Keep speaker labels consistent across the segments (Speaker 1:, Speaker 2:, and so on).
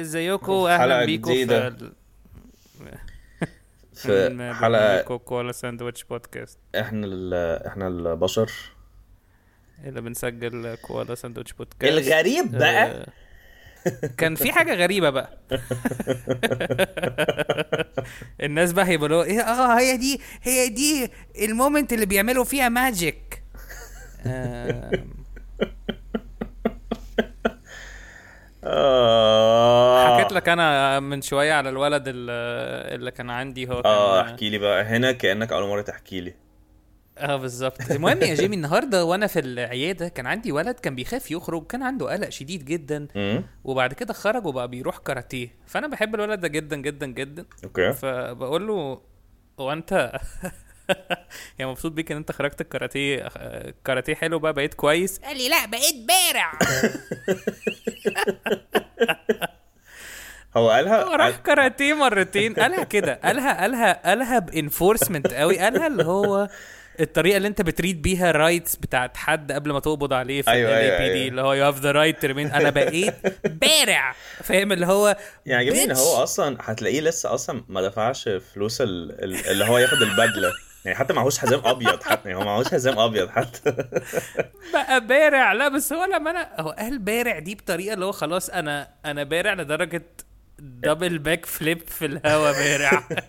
Speaker 1: ازيكم اهلا
Speaker 2: حلقة
Speaker 1: بيكم
Speaker 2: جديدة.
Speaker 1: في
Speaker 2: في حلقة
Speaker 1: كوكولا ساندويتش بودكاست
Speaker 2: احنا ال... احنا البشر
Speaker 1: اللي بنسجل كولا ساندويتش بودكاست
Speaker 2: الغريب بقى
Speaker 1: آه، كان في حاجه غريبه بقى الناس بقى هيبقوا اللي هو ايه اه هي دي هي دي المومنت اللي بيعملوا فيها ماجيك آه،
Speaker 2: آه
Speaker 1: حكيت لك انا من شويه على الولد اللي اللي كان عندي هو كان
Speaker 2: اه احكي لي بقى هنا كأنك أول مرة تحكي لي
Speaker 1: اه بالظبط المهم يا جيمي النهارده وانا في العياده كان عندي ولد كان بيخاف يخرج كان عنده قلق شديد جدا
Speaker 2: امم
Speaker 1: وبعد كده خرج وبقى بيروح كاراتيه فانا بحب الولد ده جدا جدا جدا
Speaker 2: اوكي
Speaker 1: فبقول له هو انت يا مبسوط بيك ان انت خرجت الكاراتيه الكاراتيه حلو بقى بقيت كويس قال لي لا بقيت بارع
Speaker 2: هو قالها
Speaker 1: هو راح كاراتيه مرتين قالها كده قالها قالها قالها بانفورسمنت قوي قالها اللي هو الطريقه اللي انت بتريد بيها الرايتس بتاعت حد قبل ما تقبض عليه في
Speaker 2: أيوة،
Speaker 1: ال
Speaker 2: أيوة،
Speaker 1: LAPD
Speaker 2: أيوة.
Speaker 1: اللي هو يو هاف ذا رايت تو ريمين انا بقيت بارع فاهم اللي هو
Speaker 2: يعني جميل
Speaker 1: bitch.
Speaker 2: هو أصلا هتلاقيه لسه أصلا ما دفعش فلوس ال... ال- اللي هو ياخد البدلة يعني حتى معهوش حزام أبيض حتى يعني هو معهوش حزام أبيض حتى
Speaker 1: بقى بارع لا بس هو لما انا هو قال بارع دي بطريقه اللي هو خلاص انا انا بارع لدرجه دبل باك فليب في الهوا بارع
Speaker 2: ومين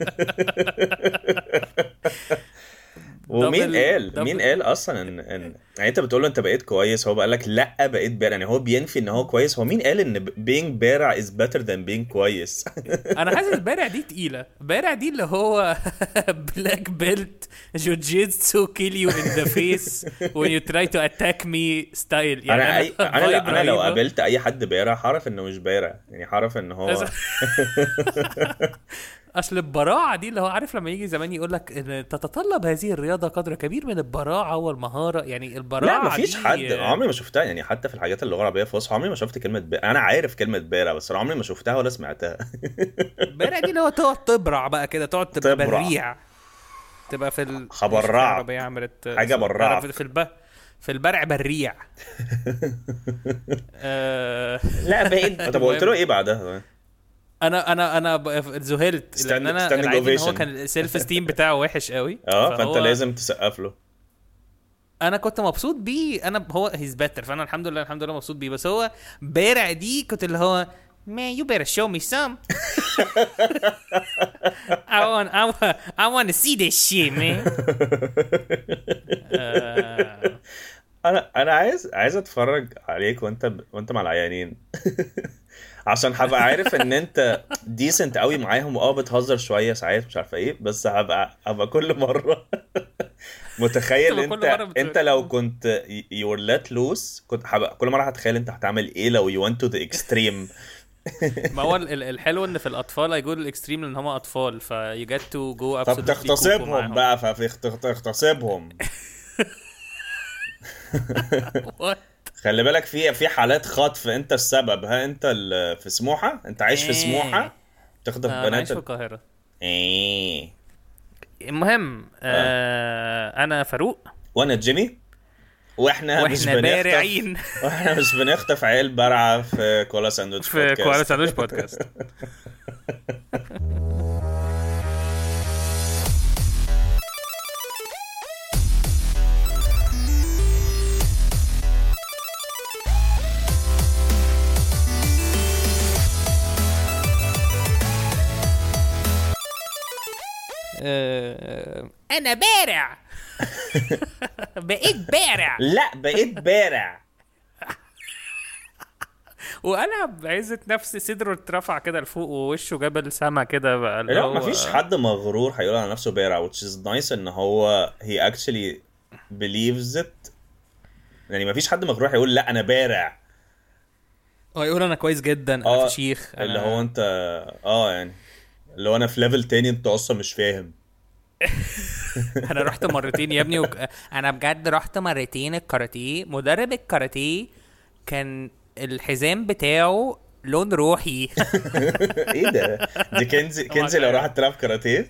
Speaker 1: دبل-
Speaker 2: قال
Speaker 1: دبل-
Speaker 2: مين قال اصلا ان ان يعني انت بتقول له انت بقيت كويس هو بقى لك لا بقيت بارع يعني هو بينفي ان هو كويس هو مين قال ان being بارع is better than being كويس
Speaker 1: انا حاسس بارع دي تقيله بارع دي اللي هو بلاك بيلت جوجيتسو كيل يو ان ذا فيس وين يو تراي تو اتاك مي ستايل يعني
Speaker 2: انا أي... انا
Speaker 1: vibe
Speaker 2: انا لو
Speaker 1: رهيبة.
Speaker 2: قابلت اي حد بارع هعرف انه مش بارع يعني هعرف ان هو
Speaker 1: اصل البراعه دي اللي هو عارف لما يجي زمان يقول لك ان تتطلب هذه الرياضه قدر كبير من البراعه والمهاره يعني البراعه
Speaker 2: لا مفيش
Speaker 1: دي-
Speaker 2: حد عمري ما شفتها يعني حتى في الحاجات اللغه العربيه فصحى عمري ما شفت كلمه ب... انا عارف كلمه بارع بس أنا عمري ما شفتها ولا سمعتها
Speaker 1: البراعه دي اللي هو تقعد تبرع بقى كده تقعد تبقى
Speaker 2: تبرع.
Speaker 1: بريع تبقى في ال
Speaker 2: خبرعك.
Speaker 1: مش في العربية عملت
Speaker 2: حاجة برعك.
Speaker 1: في الب في البرع بريع آه،
Speaker 2: لا بعيد طب قلت له ايه بعدها
Speaker 1: انا انا انا ب- ذهلت لان
Speaker 2: Stand-
Speaker 1: انا
Speaker 2: standing
Speaker 1: العادي ان هو
Speaker 2: ovation.
Speaker 1: كان السيلف ستيم بتاعه وحش قوي
Speaker 2: اه فانت
Speaker 1: فهو-
Speaker 2: لازم تسقف له
Speaker 1: انا كنت مبسوط بيه انا هو هيز بيتر فانا الحمد لله الحمد لله مبسوط بيه بس هو بارع دي كنت اللي هو man you better show me some I want I want I want to see this shit man آه،
Speaker 2: انا انا عايز عايز اتفرج عليك وانت ب... وانت مع العيانين عشان هبقى عارف ان انت ديسنت قوي معاهم واه بتهزر شويه ساعات مش عارفه ايه بس هبقى هبقى كل مره متخيل
Speaker 1: هتبقى كل
Speaker 2: انت
Speaker 1: مرة بت-
Speaker 2: انت لو كنت يور لات لوس كنت هبقى كل مره هتخيل انت هتعمل ايه لو يو ونت تو ذا اكستريم
Speaker 1: ما هو ال- ال- الحلو ان في الاطفال هيجوا الاكستريم لان هم اطفال فيو جت تو جو
Speaker 2: طب تغتصبهم بقى فتغتصبهم خلي بالك في في حالات خطف انت السبب ها انت ال- في سموحه انت عايش في
Speaker 1: ايه.
Speaker 2: سموحه تخطف
Speaker 1: انا آه، عايش في
Speaker 2: بنات
Speaker 1: القاهره
Speaker 2: ايه
Speaker 1: المهم آه انا فاروق
Speaker 2: وانا جيمي واحنا, آه، مش
Speaker 1: واحنا
Speaker 2: بنخطف
Speaker 1: بارعين
Speaker 2: واحنا مش بنخطف عيال برعه في كولا ساندوتش
Speaker 1: في
Speaker 2: بودكاست.
Speaker 1: كوالا ساندويتش بودكاست انا بارع بقيت بارع
Speaker 2: لا بقيت بارع
Speaker 1: وانا بعزه نفسي صدره اترفع كده لفوق ووشه جاب السما كده بقى اللي
Speaker 2: لا
Speaker 1: هو-
Speaker 2: مفيش حد مغرور هيقول على نفسه بارع which is nice ان هو he actually believes it يعني مفيش حد مغرور هيقول لا انا بارع
Speaker 1: هو يقول انا كويس جدا انا
Speaker 2: آه،
Speaker 1: فشيخ
Speaker 2: اللي هو انت اه يعني اللي هو انا في ليفل تاني انت اصلا مش فاهم
Speaker 1: انا رحت مرتين يا ابني وك... انا بجد رحت مرتين الكاراتيه مدرب الكاراتيه كان الحزام بتاعه لون روحي
Speaker 2: إيه ايه ده؟ دي كنزي كنزي لو راحت تلعب كاراتيه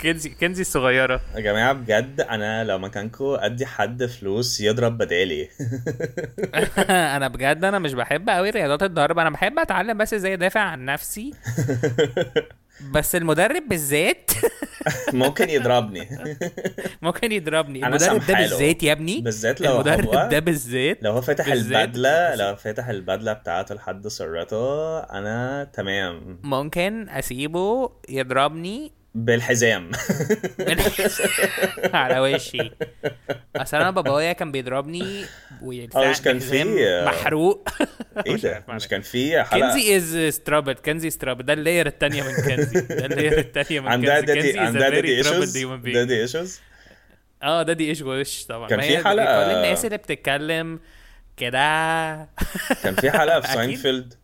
Speaker 1: كنزي كنزي الصغيره
Speaker 2: يا جماعه بجد انا لو مكانكم ادي حد فلوس يضرب بدالي
Speaker 1: انا بجد انا مش بحب قوي رياضات الضرب انا بحب اتعلم بس ازاي ادافع عن نفسي بس المدرب بالذات
Speaker 2: ممكن يضربني
Speaker 1: ممكن يضربني
Speaker 2: أنا
Speaker 1: المدرب ده
Speaker 2: سامحاله.
Speaker 1: بالذات يا ابني
Speaker 2: بالذات لو
Speaker 1: المدرب
Speaker 2: هو
Speaker 1: ده بالذات
Speaker 2: لو هو فاتح
Speaker 1: بالذات-
Speaker 2: البدله لو فاتح البدله بتاعته لحد سرته انا تمام
Speaker 1: ممكن اسيبه يضربني
Speaker 2: بالحزام
Speaker 1: من- على وشي اصل انا بابايا كان بيضربني
Speaker 2: آه،
Speaker 1: ويدفع
Speaker 2: مش كان
Speaker 1: بحزام
Speaker 2: فيه-
Speaker 1: محروق
Speaker 2: ايه
Speaker 1: مش
Speaker 2: ده
Speaker 1: عارف معنى
Speaker 2: مش كان في حلقه
Speaker 1: كنزي از سترابت كنزي سترابت ده اللاير الثانيه من كنزي ده اللاير الثانيه من
Speaker 2: عندها
Speaker 1: كنزي
Speaker 2: دادي
Speaker 1: كنزي از
Speaker 2: عندها
Speaker 1: فيري
Speaker 2: دادي
Speaker 1: سترابت
Speaker 2: ايشوز
Speaker 1: هيومن بينج
Speaker 2: دادي ايشوز
Speaker 1: اه ده دي ايش وش طبعا
Speaker 2: كان
Speaker 1: ما
Speaker 2: في
Speaker 1: هي
Speaker 2: حلقة-
Speaker 1: كل الناس اللي بتتكلم كده
Speaker 2: كان في حلقه في
Speaker 1: أكيد.
Speaker 2: ساينفيلد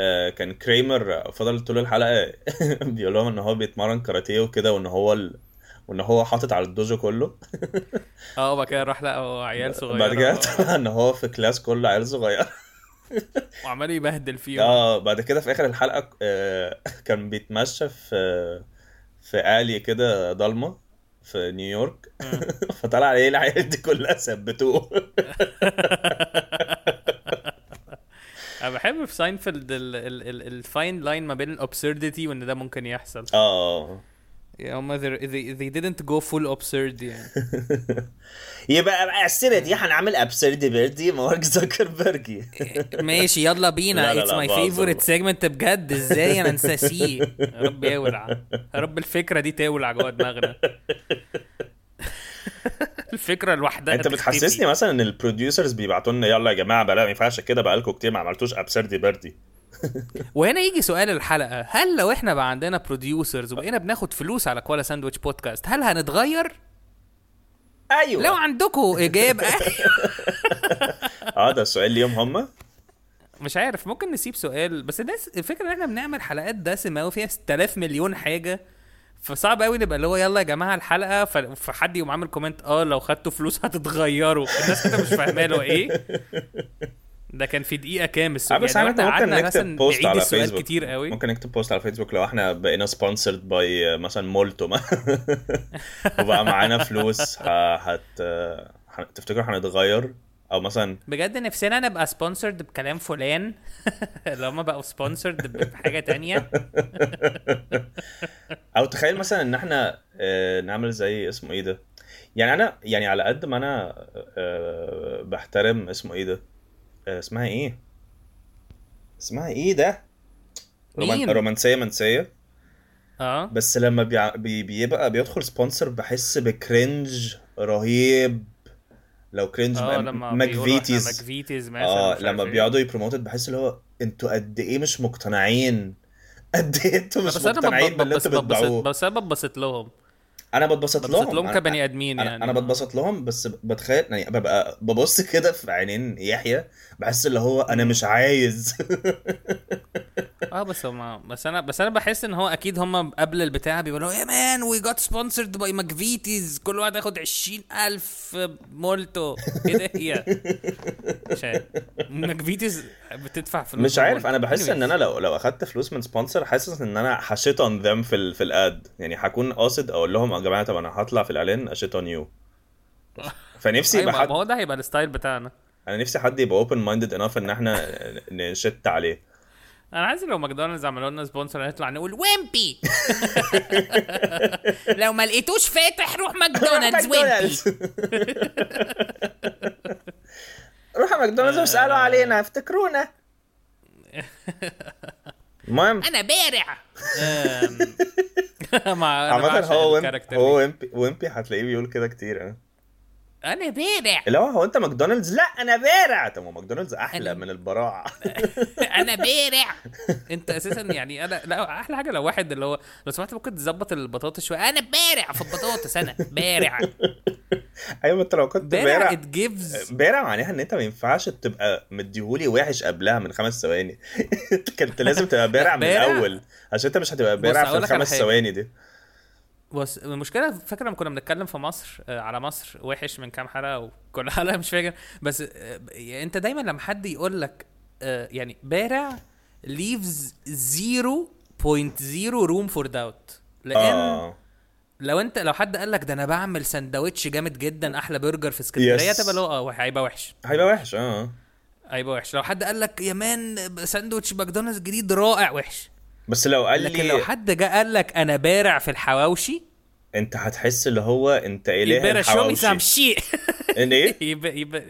Speaker 2: آه، كان كريمر فضل طول الحلقه بيقول لهم ان هو بيتمرن كاراتيه وكده وان هو ال... وان هو حاطط على الدوجو كله
Speaker 1: اه وبعد كده راح لقى عيال صغيره
Speaker 2: بعد كده طلع ان هو في كلاس كله عيال صغير
Speaker 1: وعمال يبهدل فيهم
Speaker 2: اه بعد كده في اخر الحلقه آه، كان بيتمشى في في الي كده ضلمه في نيويورك فطلع عليه العيال دي كلها ثبتوه
Speaker 1: انا بحب في ساينفيلد ال- ال- ال- الفاين لاين ما بين الاوبسرديتي وان ده ممكن يحصل
Speaker 2: اه
Speaker 1: يا هم they, they, they didn't go full absurd يعني
Speaker 2: يبقى بقى السيره دي هنعمل ابسرد بيردي مارك زكربرجي
Speaker 1: إيه، ماشي يلا
Speaker 2: لا، لا،
Speaker 1: بينا اتس
Speaker 2: لا،
Speaker 1: ماي
Speaker 2: بهزر.
Speaker 1: فيفورت سيجمنت بجد ازاي انا نساسيه يا رب يولع يا رب الفكره دي تولع جوه دماغنا الفكره لوحدها
Speaker 2: انت
Speaker 1: تختفي.
Speaker 2: بتحسسني مثلا ان البروديوسرز بيبعتوا لنا يلا يا جماعه بلا ما ينفعش كده بقالكم كتير ما عملتوش ابسرد بيردي
Speaker 1: وهنا يجي سؤال الحلقه هل لو احنا بقى عندنا بروديوسرز وبقينا بناخد فلوس على كوالا ساندويتش بودكاست هل هنتغير
Speaker 2: ايوه
Speaker 1: لو عندكم اجابه
Speaker 2: اه ده السؤال ليهم هم
Speaker 1: مش عارف ممكن نسيب سؤال بس الناس الفكره ان احنا بنعمل حلقات دسمه وفيها 6000 مليون حاجه فصعب قوي نبقى اللي هو يلا يا جماعه الحلقه ف- فحد يقوم عامل كومنت اه لو خدتوا فلوس هتتغيروا الناس كده مش فاهمه له ايه ده كان في دقيقه كام السؤال يعني
Speaker 2: آه، بس عامة ممكن
Speaker 1: قعدنا
Speaker 2: نكتب
Speaker 1: مثلا
Speaker 2: بوست
Speaker 1: نعيد
Speaker 2: على آه.
Speaker 1: السؤال
Speaker 2: فيسبوك.
Speaker 1: كتير قوي
Speaker 2: ممكن نكتب بوست على فيسبوك لو احنا بقينا سبونسرد باي مثلا مولتو وبقى معانا فلوس ه- هت هن- تفتكروا هنتغير او مثلا
Speaker 1: بجد نفسنا نبقى سبونسرد بكلام فلان اللي هم بقوا سبونسرد بحاجه تانية
Speaker 2: او تخيل مثلا ان احنا آه، نعمل زي اسمه ايه ده يعني انا يعني على قد ما انا آه، بحترم اسمه ايه ده آه، اسمها ايه اسمها ايه ده رومان-
Speaker 1: مين؟
Speaker 2: رومانسيه منسيه
Speaker 1: اه
Speaker 2: بس لما بيع... بي... بيبقى بيدخل سبونسر بحس بكرنج رهيب لو كرنج
Speaker 1: اه
Speaker 2: بقى
Speaker 1: لما
Speaker 2: ماكفيتيز
Speaker 1: ماكفيتيز مثلا
Speaker 2: اه
Speaker 1: مش
Speaker 2: لما
Speaker 1: عارف إيه.
Speaker 2: بيقعدوا يبروموتد بحس اللي هو انتوا قد ايه مش مقتنعين قد ايه انتوا مش
Speaker 1: بس انا
Speaker 2: مقتنعين باللي
Speaker 1: ببسط
Speaker 2: انتوا بتدعوه
Speaker 1: بس انا ببسط لهم
Speaker 2: انا بتبسط
Speaker 1: ببسط لهم
Speaker 2: أنا-
Speaker 1: كبني ادمين
Speaker 2: انا
Speaker 1: يعني
Speaker 2: انا بتبسط لهم بس بتخيل يعني ببقى ببص كده في عينين يحيى بحس اللي هو انا مش عايز
Speaker 1: اه بس هم بس انا بس انا بحس ان هو اكيد هم قبل البتاع بيقولوا "إيه يا مان وي جوت سبونسرد باي ماكفيتيز كل واحد ياخد 20000 مولتو ايه ده هي مش عارف ماكفيتيز بتدفع فلوس
Speaker 2: مش عارف
Speaker 1: مولتو.
Speaker 2: انا بحس ان
Speaker 1: Anyways.
Speaker 2: انا لو لو اخدت فلوس من سبونسر حاسس ان انا هشيت اون ذم في ال في الاد يعني هكون قاصد اقول لهم يا جماعه طب انا هطلع في الاعلان اشيت اون يو فنفسي
Speaker 1: أيوة،
Speaker 2: يبقى
Speaker 1: ما ما
Speaker 2: حد
Speaker 1: هو ده هيبقى الستايل بتاعنا
Speaker 2: انا نفسي حد يبقى اوبن مايندد انف ان احنا نشت عليه
Speaker 1: انا عايز لو ماكدونالدز عملوا لنا سبونسر نطلع نقول ويمبي لو ما لقيتوش فاتح روح ماكدونالدز ويمبي
Speaker 2: روحوا ماكدونالدز واسالوا
Speaker 1: آه.
Speaker 2: علينا افتكرونا المهم
Speaker 1: انا بارع مع أنا
Speaker 2: عامة
Speaker 1: بعشق
Speaker 2: هو ويمبي
Speaker 1: الكاركتر دي.
Speaker 2: هو ويمبي ويمبي هتلاقيه بيقول كده كتير انا
Speaker 1: انا بارع
Speaker 2: اللي هو هو انت ماكدونالدز لا انا بارع طب ما ماكدونالدز احلى من البراعه
Speaker 1: انا بارع انت اساسا يعني انا لا احلى حاجه لو واحد اللي هو لو سمحت ممكن تظبط البطاطس شويه انا بارع في البطاطس انا بارع
Speaker 2: ايوه ما انت لو كنت
Speaker 1: بارع
Speaker 2: بارع
Speaker 1: ات جيفز
Speaker 2: بارع معناها ان انت ما ينفعش تبقى مديهولي وحش قبلها من خمس ثواني انت كنت لازم تبقى بارع من
Speaker 1: بارع-
Speaker 2: الاول عشان انت مش هتبقى بارع في
Speaker 1: هقول لك على
Speaker 2: الخمس
Speaker 1: حاجة.
Speaker 2: ثواني دي
Speaker 1: بس المشكله فاكر لما كنا بنتكلم في مصر آه، على مصر وحش من كام حلقه وكل حلقه مش فاكر بس آه، يعني انت دايما لما حد يقول لك آه، يعني بارع leaves 0.0 room for doubt لان
Speaker 2: اه
Speaker 1: لو انت لو حد قال لك ده انا بعمل سندوتش جامد جدا احلى برجر في اسكندريه
Speaker 2: Yes.
Speaker 1: تبقى اللي هو اه وح- هيبقى وحش
Speaker 2: هيبقى وحش اه
Speaker 1: هيبقى وحش لو حد قال لك يا مان ساندوتش ماكدونالدز جديد رائع وحش
Speaker 2: بس لو قال
Speaker 1: لكن
Speaker 2: لي
Speaker 1: لو حد جه قال لك انا بارع في الحواوشي
Speaker 2: انت هتحس اللي هو انت اله
Speaker 1: يبقى show me
Speaker 2: الحواوشي
Speaker 1: some shit
Speaker 2: ان ايه
Speaker 1: you bet, you bet,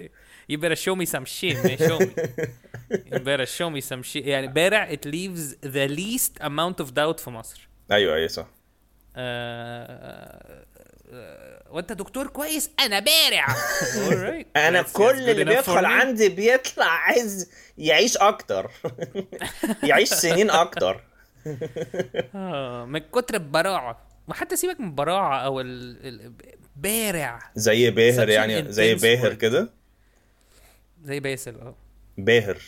Speaker 1: you better show me some shit, man. Show me. you better show me some shit. يعني بارع it leaves the least amount of doubt Uh, في مصر.
Speaker 2: ايوه ايوه صح
Speaker 1: آه، آه، وانت دكتور كويس انا بارع. Alright.
Speaker 2: انا
Speaker 1: That's- that's
Speaker 2: كل
Speaker 1: good
Speaker 2: اللي
Speaker 1: enough for
Speaker 2: بيدخل
Speaker 1: me.
Speaker 2: عندي بيطلع عايز يعيش اكتر يعيش سنين اكتر
Speaker 1: آه، من كتر البراعه وحتى سيبك من البراعه او ال... ال... بارع
Speaker 2: زي باهر
Speaker 1: Such an
Speaker 2: يعني زي
Speaker 1: intense
Speaker 2: باهر
Speaker 1: word.
Speaker 2: كده
Speaker 1: زي باسل اه
Speaker 2: باهر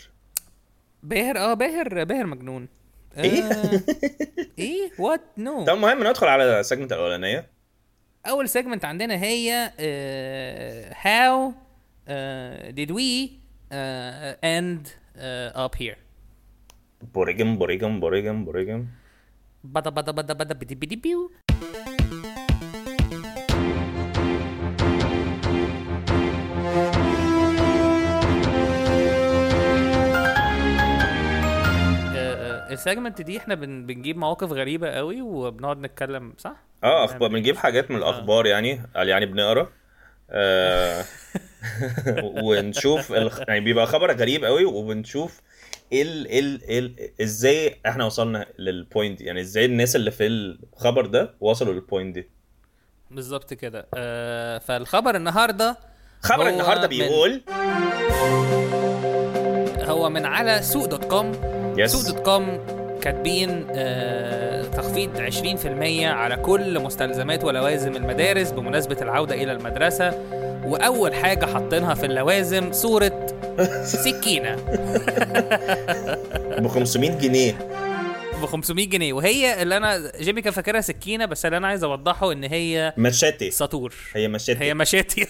Speaker 1: باهر اه باهر باهر مجنون آه،
Speaker 2: ايه
Speaker 1: ايه وات نو
Speaker 2: طب المهم ندخل على السيجمنت الاولانيه
Speaker 1: اول سيجمنت عندنا هي آه، هاو ديد وي اند اب هير
Speaker 2: بوريجم بوريجم بوريجم بوريجم
Speaker 1: بدا بدا بدا بدا بدي بدي بيو آه، السيجمنت دي احنا بن- بنجيب مواقف غريبه قوي وبنقعد نتكلم صح؟
Speaker 2: اه اخبار بنجيب حاجات من
Speaker 1: آه.
Speaker 2: الاخبار يعني يعني بنقرا آه ونشوف الخ... يعني بيبقى خبر غريب قوي وبنشوف ايه ال... إيه ال... إيه ال... ازاي احنا وصلنا للبوينت دي يعني ازاي الناس اللي في الخبر ده وصلوا للبوينت دي
Speaker 1: بالظبط كده آه، فالخبر النهارده
Speaker 2: خبر
Speaker 1: هو
Speaker 2: النهارده
Speaker 1: من-
Speaker 2: بيقول
Speaker 1: هو من على سوق دوت كوم
Speaker 2: Yes.
Speaker 1: سوق دوت كوم كاتبين آه، تخفيض 20% على كل مستلزمات ولوازم المدارس بمناسبة العودة إلى المدرسة وأول حاجة حاطينها في اللوازم صورة سكينة
Speaker 2: ب 500 جنيه
Speaker 1: ب 500 جنيه وهي اللي أنا جيمي كان فاكرها سكينة بس اللي أنا عايز أوضحه إن هي
Speaker 2: مشاتي
Speaker 1: سطور
Speaker 2: هي مشاتي
Speaker 1: هي مشاتي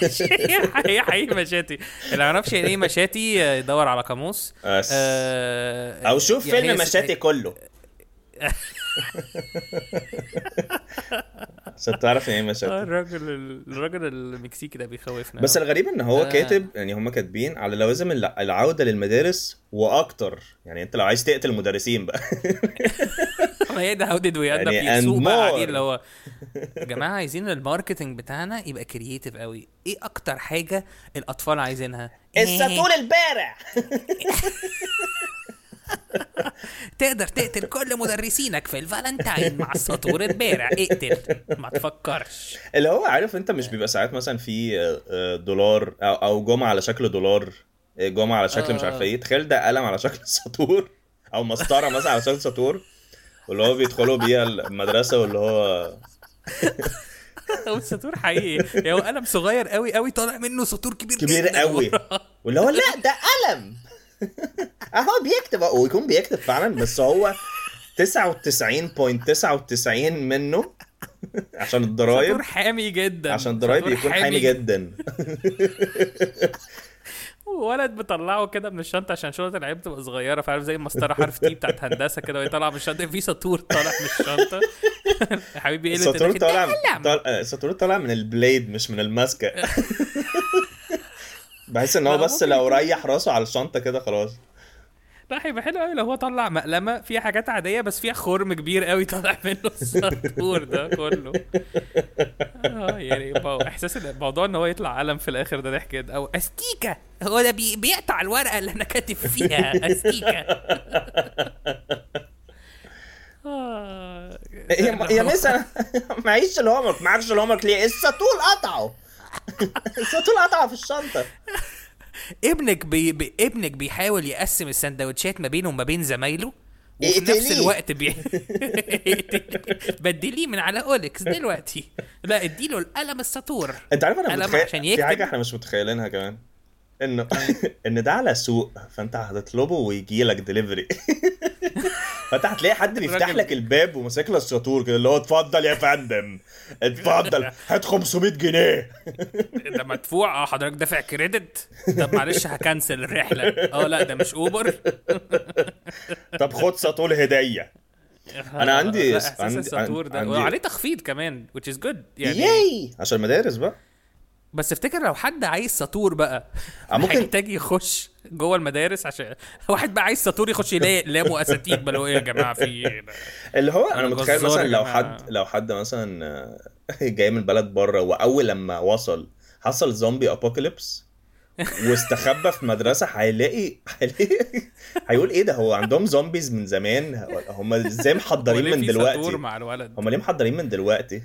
Speaker 1: هي حقيقي مشاتي اللي ما يعرفش يعني ايه مشاتي آه، يدور على قاموس
Speaker 2: أس.
Speaker 1: آه،
Speaker 2: او شوف
Speaker 1: يعني
Speaker 2: فيلم
Speaker 1: هي-
Speaker 2: مشاتي كله عشان تعرف ان ايه
Speaker 1: آه،
Speaker 2: مشاتي
Speaker 1: الراجل الراجل المكسيكي ده بيخوفنا
Speaker 2: بس
Speaker 1: أوي.
Speaker 2: الغريب ان هو
Speaker 1: آه.
Speaker 2: كاتب يعني هم كاتبين على لوازم الع- العوده للمدارس واكتر يعني انت لو عايز تقتل مدرسين بقى
Speaker 1: إيه. ما هي ده هاو ديد وي اند
Speaker 2: يعني
Speaker 1: اب
Speaker 2: and
Speaker 1: بقى
Speaker 2: more.
Speaker 1: قاعدين اللي هو يا جماعه عايزين الماركتنج بتاعنا يبقى كرييتيف قوي ايه اكتر حاجه الاطفال عايزينها
Speaker 2: إيه،
Speaker 1: إيه،
Speaker 2: الساتول البارع
Speaker 1: تقدر تقتل كل مدرسينك في الفالنتاين مع السطور البارع اقتل ما تفكرش
Speaker 2: اللي هو عارف انت مش بيبقى ساعات مثلا في آه، آه، دولار او او جمعه على شكل دولار آه، جمعه على شكل مش عارف ايه تخيل ده قلم على شكل سطور او مسطره مثلا على شكل سطور واللي هو بيدخلوا بيها المدرسه واللي هو
Speaker 1: هو السطور حقيقي يعني هو قلم صغير قوي قوي طالع منه سطور كبير
Speaker 2: كبير
Speaker 1: جداً
Speaker 2: قوي واللي هو لا ده قلم اهو بيكتب هو يكون بيكتب فعلا بس هو 99.99 منه عشان الضرايب
Speaker 1: سطور حامي جدا
Speaker 2: عشان الضرايب
Speaker 1: سطور
Speaker 2: يكون حامي جدا
Speaker 1: ولد بطلعه كده من الشنطه عشان شنطه العيال بتبقى صغيره فعارف زي المسطره حرف تي بتاعت هندسه كده وهي طالعه من الشنطه في سطور طالع من الشنطه يا حبيبي ايه اللي
Speaker 2: السطور
Speaker 1: تدخل؟ ده
Speaker 2: طالع
Speaker 1: قلم.
Speaker 2: طال- آه، السطور طالع من البليد مش من الماسكه بحس ان هو
Speaker 1: لا،
Speaker 2: بس
Speaker 1: ممكن
Speaker 2: لو ريح راسه على الشنطه كده خلاص
Speaker 1: لا هيبقى حلو قوي لو هو طلع مقلمه فيها حاجات عاديه بس فيها خرم كبير قوي طالع منه السطور ده كله اه يعني يبقى احساس إن- موضوع ان هو يطلع قلم في الاخر ده ضحك جدا او استيكه هو ده بي- بيقطع الورقه اللي انا كاتب فيها استيكه آه.
Speaker 2: يا يا مس انا معيش الهومرك معرفش الهومرك ليه السطول قطعه السطول قطعه في الشنطه
Speaker 1: ابنك بي... بي... ابنك بيحاول يقسم السندوتشات ما بينه وما بين زمايله وفي
Speaker 2: اقتليه.
Speaker 1: نفس الوقت بي... بدليه من على اوليكس دلوقتي لا اديله القلم السطور
Speaker 2: انت عارف انا
Speaker 1: قلم
Speaker 2: متخيل
Speaker 1: عشان
Speaker 2: في
Speaker 1: يكتب. آه.
Speaker 2: حاجه احنا مش متخيلينها كمان انه ان ده على سوق فانت هتطلبه ويجي لك دليفري فانت هتلاقي حد بيفتح
Speaker 1: الراجل-
Speaker 2: لك الباب وماسك لك السطور كده اللي هو اتفضل يا فندم اتفضل هات 500 جنيه
Speaker 1: ده مدفوع اه حضرتك دافع كريدت طب معلش هكنسل آه، الرحله اه لا ده مش اوبر
Speaker 2: طب خد سطول هديه انا عندي
Speaker 1: آه، لا، احساس
Speaker 2: عندي-
Speaker 1: السطور ده
Speaker 2: عندي-
Speaker 1: وعليه تخفيض كمان which is good يعني
Speaker 2: ياي عشان مدارس بقى
Speaker 1: بس افتكر لو حد عايز سطور بقى
Speaker 2: آه، ممكن-
Speaker 1: هيحتاج يخش جوه المدارس عشان واحد بقى عايز سطور يخش يلاقي لامه اساتيد بقى اللي هو ايه يا جماعه في إيه؟
Speaker 2: اللي هو
Speaker 1: أنا
Speaker 2: انا متخيل
Speaker 1: جزار
Speaker 2: مثلا
Speaker 1: يا
Speaker 2: لو
Speaker 1: جماعة.
Speaker 2: حد لو حد مثلا آه، جاي من بلد بره واول لما وصل حصل زومبي ابوكاليبس واستخبى في مدرسه هيلاقي هيلاقي هيقول ايه ده هو عندهم زومبيز من زمان هم ازاي محضرين
Speaker 1: وليه
Speaker 2: من
Speaker 1: في
Speaker 2: دلوقتي
Speaker 1: سطور مع الولد
Speaker 2: هم ليه محضرين من دلوقتي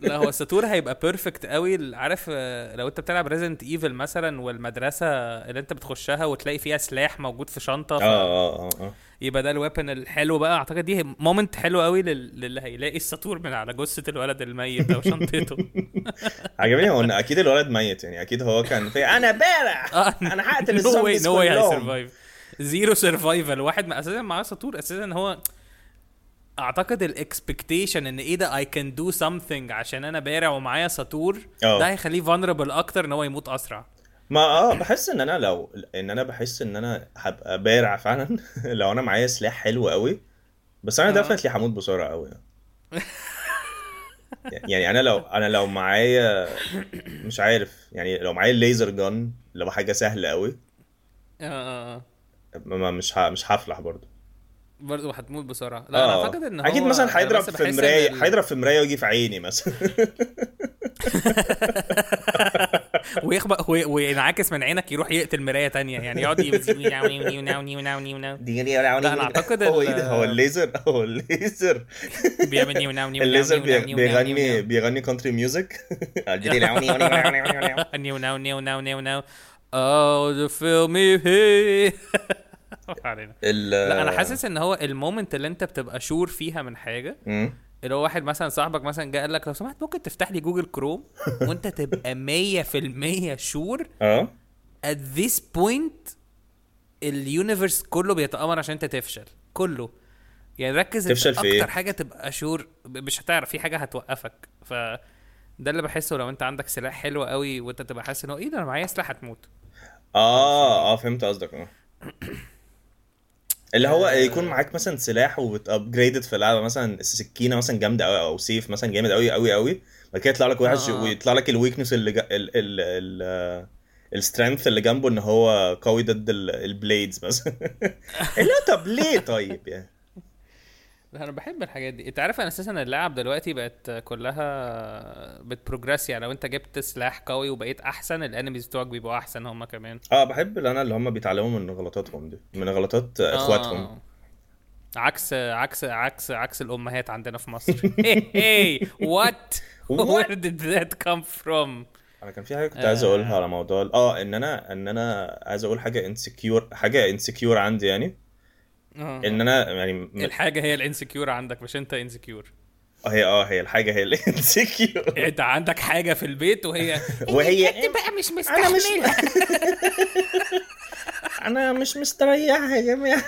Speaker 1: لا هو السطور هيبقى بيرفكت قوي ال- عارف آه، لو انت بتلعب ريزنت ايفل مثلا والمدرسه اللي انت بتخشها وتلاقي فيها سلاح موجود في شنطه
Speaker 2: اه اه اه آه.
Speaker 1: يبقى ده الويبن الحلو بقى اعتقد دي مومنت حلو قوي لل- للي هيلاقي السطور من على جثه الولد الميت او شنطته
Speaker 2: عجبني هو ان اكيد الولد ميت يعني اكيد هو كان في انا بارع
Speaker 1: اه
Speaker 2: انا هقتل
Speaker 1: نو واي
Speaker 2: الزومبيز
Speaker 1: نو واي
Speaker 2: كلهم
Speaker 1: هيسرفايف زيرو سرفايفل واحد ما اساسا معاه سطور اساسا هو اعتقد الاكسبكتيشن ان ايه ده اي كان دو سمثينج عشان انا بارع ومعايا سطور
Speaker 2: اه.
Speaker 1: ده هيخليه فانربل اكتر ان هو يموت اسرع
Speaker 2: ما اه بحس ان انا لو ان انا بحس ان انا هبقى بارع فعلا لو انا معايا سلاح حلو قوي بس انا
Speaker 1: اه.
Speaker 2: دفنتلي هموت بسرعه قوي يعني انا لو انا لو معايا مش عارف يعني لو معايا ليزر جان لو حاجه سهله قوي
Speaker 1: اه
Speaker 2: ما- ما- مش ه- مش هفلح برضه
Speaker 1: برضه هتموت بسرعه لا انا
Speaker 2: اه.
Speaker 1: اعتقد ان هو
Speaker 2: اكيد مثلا
Speaker 1: أنا
Speaker 2: هيضرب
Speaker 1: بس
Speaker 2: في
Speaker 1: بحس إن
Speaker 2: مرايه
Speaker 1: ال-
Speaker 2: هيضرب في مرايه ويجي في عيني مثلا
Speaker 1: ويخبط وي- وينعكس من عينك يروح يقتل مرايه تانية يعني يقعد يمسك- ناو- ناو- ناو- ناو- ناو- ناو- ناو.
Speaker 2: دي دي لا
Speaker 1: لا، أنا أعتقد
Speaker 2: هو
Speaker 1: ال-
Speaker 2: ايه ده هو الليزر هو الليزر
Speaker 1: بيعمل نيو- ناو- نيو- ناو-
Speaker 2: الليزر
Speaker 1: نيو- ناو- نيو-
Speaker 2: بيغ-
Speaker 1: ناو-
Speaker 2: بيغني
Speaker 1: نيو-
Speaker 2: بيغني كونتري ميوزك لا
Speaker 1: ناو. نيو ناو نيو ناو نيو ناو او فيل مي هي لا انا
Speaker 2: آه.
Speaker 1: حاسس ان هو المومنت اللي انت بتبقى شور فيها من حاجه اللي هو واحد مثلا صاحبك مثلا جه قال لك لو سمحت ممكن تفتح لي جوجل كروم وانت تبقى 100% شور
Speaker 2: اه
Speaker 1: at this point اليونيفرس كله بيتآمر عشان انت تفشل كله يعني ركز انت
Speaker 2: تفشل في
Speaker 1: اكتر
Speaker 2: ايه؟
Speaker 1: حاجه تبقى شور ب- مش هتعرف في حاجه هتوقفك ف ده اللي بحسه لو انت عندك سلاح حلو قوي وانت تبقى حاسس ان هو ايه ده انا معايا سلاح هتموت
Speaker 2: اه اه فهمت قصدك اه اللي هو يكون معاك مثلا سلاح وبتابجريدد في اللعبه مثلا سكينه مثلا جامده قوي او سيف مثلا جامد قوي قوي قوي بعد كده يطلع لك وحش
Speaker 1: آه.
Speaker 2: ويطلع لك الويكنس اللي جا... ال ال ال السترينث اللي جنبه ان هو قوي ضد البليدز مثلا اللي هو طب ليه طيب يعني
Speaker 1: لا، انا بحب الحاجات دي انت عارف انا اساسا اللعب دلوقتي بقت كلها بتبروجريس يعني لو انت جبت سلاح قوي وبقيت احسن الانميز بتوعك بيبقوا احسن هم كمان
Speaker 2: اه بحب اللي انا اللي هم بيتعلموا من غلطاتهم دي من غلطات اخواتهم
Speaker 1: آه. عكس عكس عكس عكس الامهات عندنا في مصر هي وات
Speaker 2: What?
Speaker 1: وير ديد ذات كام فروم
Speaker 2: انا كان في حاجه كنت
Speaker 1: آه.
Speaker 2: عايز اقولها على موضوع ال- اه ان انا ان انا عايز اقول حاجه انسكيور حاجه انسكيور عندي يعني
Speaker 1: آه.
Speaker 2: ان انا يعني م-
Speaker 1: الحاجه هي الانسكيور عندك مش انت انسكيور
Speaker 2: هي اه هي الحاجه هي الانسكيور
Speaker 1: انت إيه، عندك حاجه في البيت وهي
Speaker 2: وهي
Speaker 1: انت بقى مش
Speaker 2: أنا مش-
Speaker 1: مستحملها
Speaker 2: انا مش مستريحه يا جماعه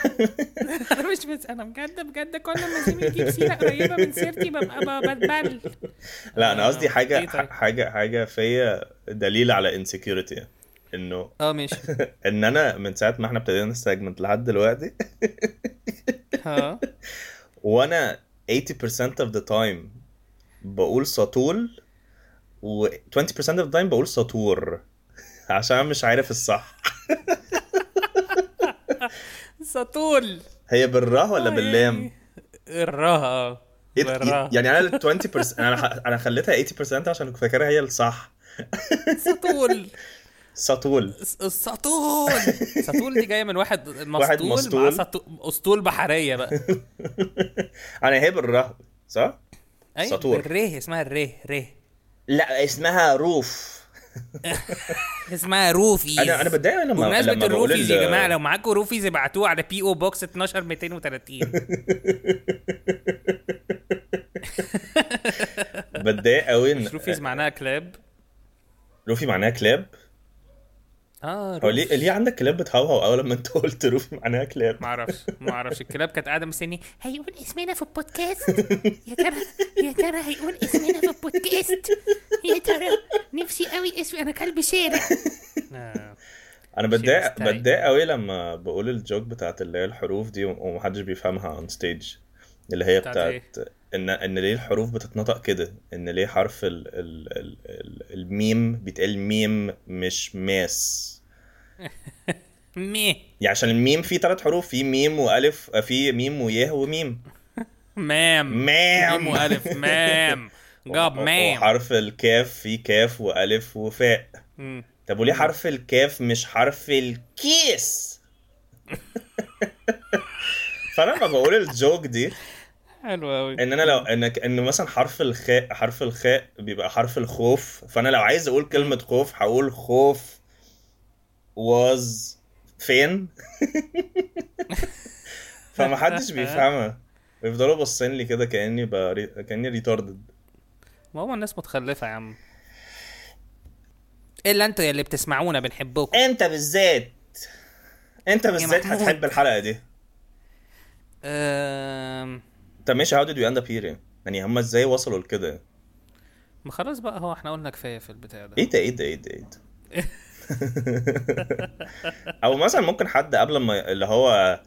Speaker 1: انا مش مس... انا بجد بجد كل ما زميلي يجيب سيره قريبه من سيرتي ببقى ب- بتبل
Speaker 2: لا انا
Speaker 1: آه،
Speaker 2: قصدي حاجه
Speaker 1: إيه طيب؟
Speaker 2: حاجه حاجه فيا دليل على يعني. انسكيورتي انه
Speaker 1: اه ماشي
Speaker 2: ان انا من ساعه ما احنا ابتدينا نستجمنت لحد دلوقتي
Speaker 1: ها
Speaker 2: وانا 80% of the time بقول سطول و 20% of the time بقول سطور عشان مش عارف الصح
Speaker 1: سطول
Speaker 2: هي بالراه ولا
Speaker 1: آه،
Speaker 2: باللام؟
Speaker 1: يعني الراها
Speaker 2: إيه-
Speaker 1: بالراها.
Speaker 2: يعني انا ال 20% انا ح- انا خليتها 80% عشان كنت فاكرها هي الصح
Speaker 1: سطول
Speaker 2: سطول
Speaker 1: س- السطول سطول دي جايه من واحد
Speaker 2: واحد
Speaker 1: مسطول مع
Speaker 2: مسطول.
Speaker 1: سطو... اسطول بحريه بقى
Speaker 2: انا هي بالراه صح؟
Speaker 1: اي
Speaker 2: سطول.
Speaker 1: الره أيوة، اسمها الره ره
Speaker 2: لا اسمها روف
Speaker 1: اسمها روفيز
Speaker 2: انا انا بتضايق لما
Speaker 1: بمناسبة
Speaker 2: لما بقول
Speaker 1: الروفيز يا
Speaker 2: ال-
Speaker 1: جماعه لو معاكم روفيز ابعتوه على بي او بوكس 12230
Speaker 2: بتضايق قوي ان
Speaker 1: مش روفيز معناها كلاب
Speaker 2: روفي معناها كلاب
Speaker 1: اه
Speaker 2: هو
Speaker 1: روف
Speaker 2: ليه ليه عندك كلاب بتهوهو اول لما انت قلت روفي معناها كلاب
Speaker 1: معرفش معرفش الكلاب كانت قاعده مستني
Speaker 3: هيقول اسمنا في البودكاست يا ترى يا ترى هيقول اسمنا في البودكاست يا ترى نفسي قوي اسمي انا كلب شارع
Speaker 1: آه.
Speaker 2: انا بتضايق
Speaker 1: مستريح.
Speaker 2: بتضايق قوي لما بقول الجوك بتاعت اللي هي الحروف دي ومحدش بيفهمها اون ستيج اللي هي
Speaker 1: بتاعت
Speaker 2: بتاعت
Speaker 1: إيه؟
Speaker 2: ان ان ليه الحروف بتتنطق كده ان ليه حرف ال ال ال ال الميم بيتقال ميم مش ماس
Speaker 1: مي
Speaker 2: يعني عشان الميم فيه ثلاث حروف في ميم والف في ميم وياه وميم
Speaker 1: مام ميم
Speaker 2: مام
Speaker 1: والف مام جاب مام
Speaker 2: وحرف الكاف فيه كاف والف وفاء
Speaker 1: مم.
Speaker 2: طب وليه حرف الكاف مش حرف الكيس فانا لما بقول الجوك دي
Speaker 1: حلو قوي
Speaker 2: ان انا لو انك ان مثلا حرف الخاء حرف الخاء بيبقى حرف الخوف فانا لو عايز اقول كلمه خوف هقول خوف was فين فمحدش بيفهمها بيفضلوا باصين لي كده كاني بري... كاني ريتاردد
Speaker 1: ما هو الناس متخلفه يا عم الا انتوا يا اللي بتسمعونا بنحبكم
Speaker 2: انت بالذات انت بالذات
Speaker 1: محمود.
Speaker 2: هتحب الحلقه دي
Speaker 1: أم...
Speaker 2: طب ماشي how did we end up here يعني؟ يعني هم ازاي وصلوا لكده
Speaker 1: ما خلاص بقى هو احنا قلنا كفايه في البتاع ده
Speaker 2: ايه ده ايه ده ايه ده ايه ده او مثلا ممكن حد قبل ما اللي هو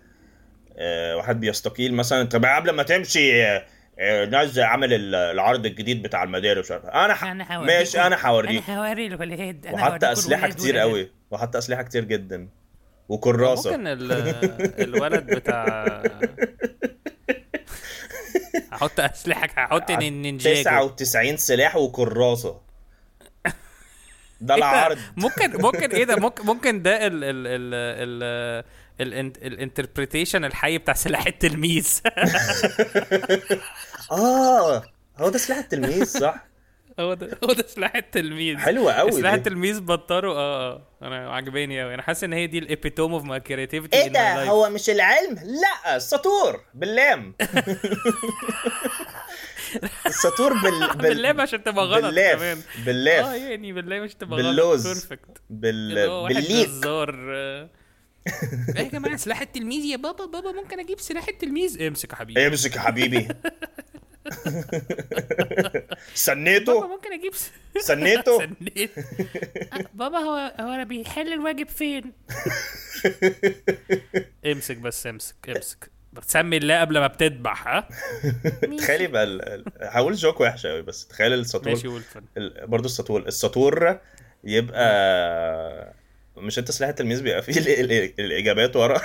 Speaker 2: آه، واحد بيستقيل مثلا طب قبل ما تمشي آه، آه، نزل عامل ال- العرض الجديد بتاع المدارس مش عارف انا ح...
Speaker 3: أنا هوريكم.
Speaker 2: ماشي انا هوريك
Speaker 3: انا هوري الولاد أنا
Speaker 2: وحتى
Speaker 3: هوريكم
Speaker 2: اسلحه
Speaker 3: الولاد
Speaker 2: كتير
Speaker 3: والبنات.
Speaker 2: قوي وحتى اسلحه كتير جدا وكراسه
Speaker 1: ممكن ال... الولد بتاع هحط اسلحه هحط النينجاجو
Speaker 2: 99 سلاح وكراسه ده العرض
Speaker 1: إيه، ممكن ممكن ايه ده ممكن ممكن ده ال ال ال ال الانتربريتيشن الحي بتاع سلاح التلميذ
Speaker 2: اه هو ده سلاح التلميذ صح
Speaker 1: هو ده هو ده سلاح التلميذ
Speaker 2: حلوة أوي
Speaker 1: سلاح
Speaker 2: دي.
Speaker 1: التلميذ بطروا اه اه انا عاجباني قوي انا حاسس ان هي دي الابيتوم اوف ماي كريتيفيتي
Speaker 2: ايه ده هو مش العلم لا السطور باللام السطور بال
Speaker 1: بالله عشان تبقى غلط
Speaker 2: باللاف.
Speaker 1: كمان
Speaker 2: باللاف.
Speaker 1: اه يعني بالله مش تبقى
Speaker 2: باللوز.
Speaker 1: غلط بيرفكت اللي
Speaker 2: بال...
Speaker 1: إيه هو واحد
Speaker 2: بالليك
Speaker 1: جزار آه. ايه يا جماعه سلاح التلميذ يا بابا بابا ممكن اجيب سلاح التلميذ امسك يا حبيبي
Speaker 2: امسك يا حبيبي
Speaker 1: بابا
Speaker 2: سنيته
Speaker 1: ممكن اجيب س-
Speaker 2: سنيته
Speaker 1: سنيت.
Speaker 3: بابا هو هو أنا بيحل الواجب فين؟
Speaker 1: امسك بس امسك امسك بتسمي الله قبل ما بتذبح ها
Speaker 2: تخيل يبقى ال- ال- هقول جوك وحش قوي بس تخيل
Speaker 1: ماشي
Speaker 2: السطور
Speaker 1: ولفن
Speaker 2: ال... برضه السطور السطور يبقى مش انت سلاح التلميذ بيبقى فيه ال... ال... الاجابات ورا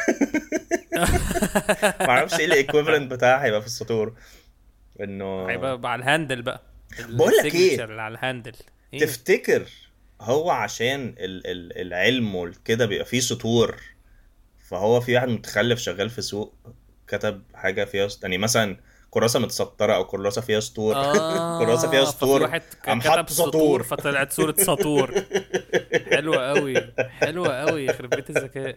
Speaker 2: معرفش ايه الايكويفالنت بتاعها هيبقى في السطور انه
Speaker 1: هيبقى على الهاندل بقى
Speaker 2: بقول لك إيه؟
Speaker 1: الsignature اللي على الهاندل إيه؟
Speaker 2: تفتكر هو عشان ال ال العلم والكده بيبقى فيه سطور فهو في واحد متخلف شغال في سوق كتب حاجه فيها سط- يعني مثلا كراسه متسطره او كراسه فيها سطور
Speaker 1: آه،
Speaker 2: كراسه فيها
Speaker 1: ففي
Speaker 2: سطور
Speaker 1: واحد ك-
Speaker 2: قام
Speaker 1: كتب
Speaker 2: حط
Speaker 1: سطور
Speaker 2: سطور
Speaker 1: فطلعت صوره سطور حلوه قوي حلوه قوي يخرب بيت الذكاء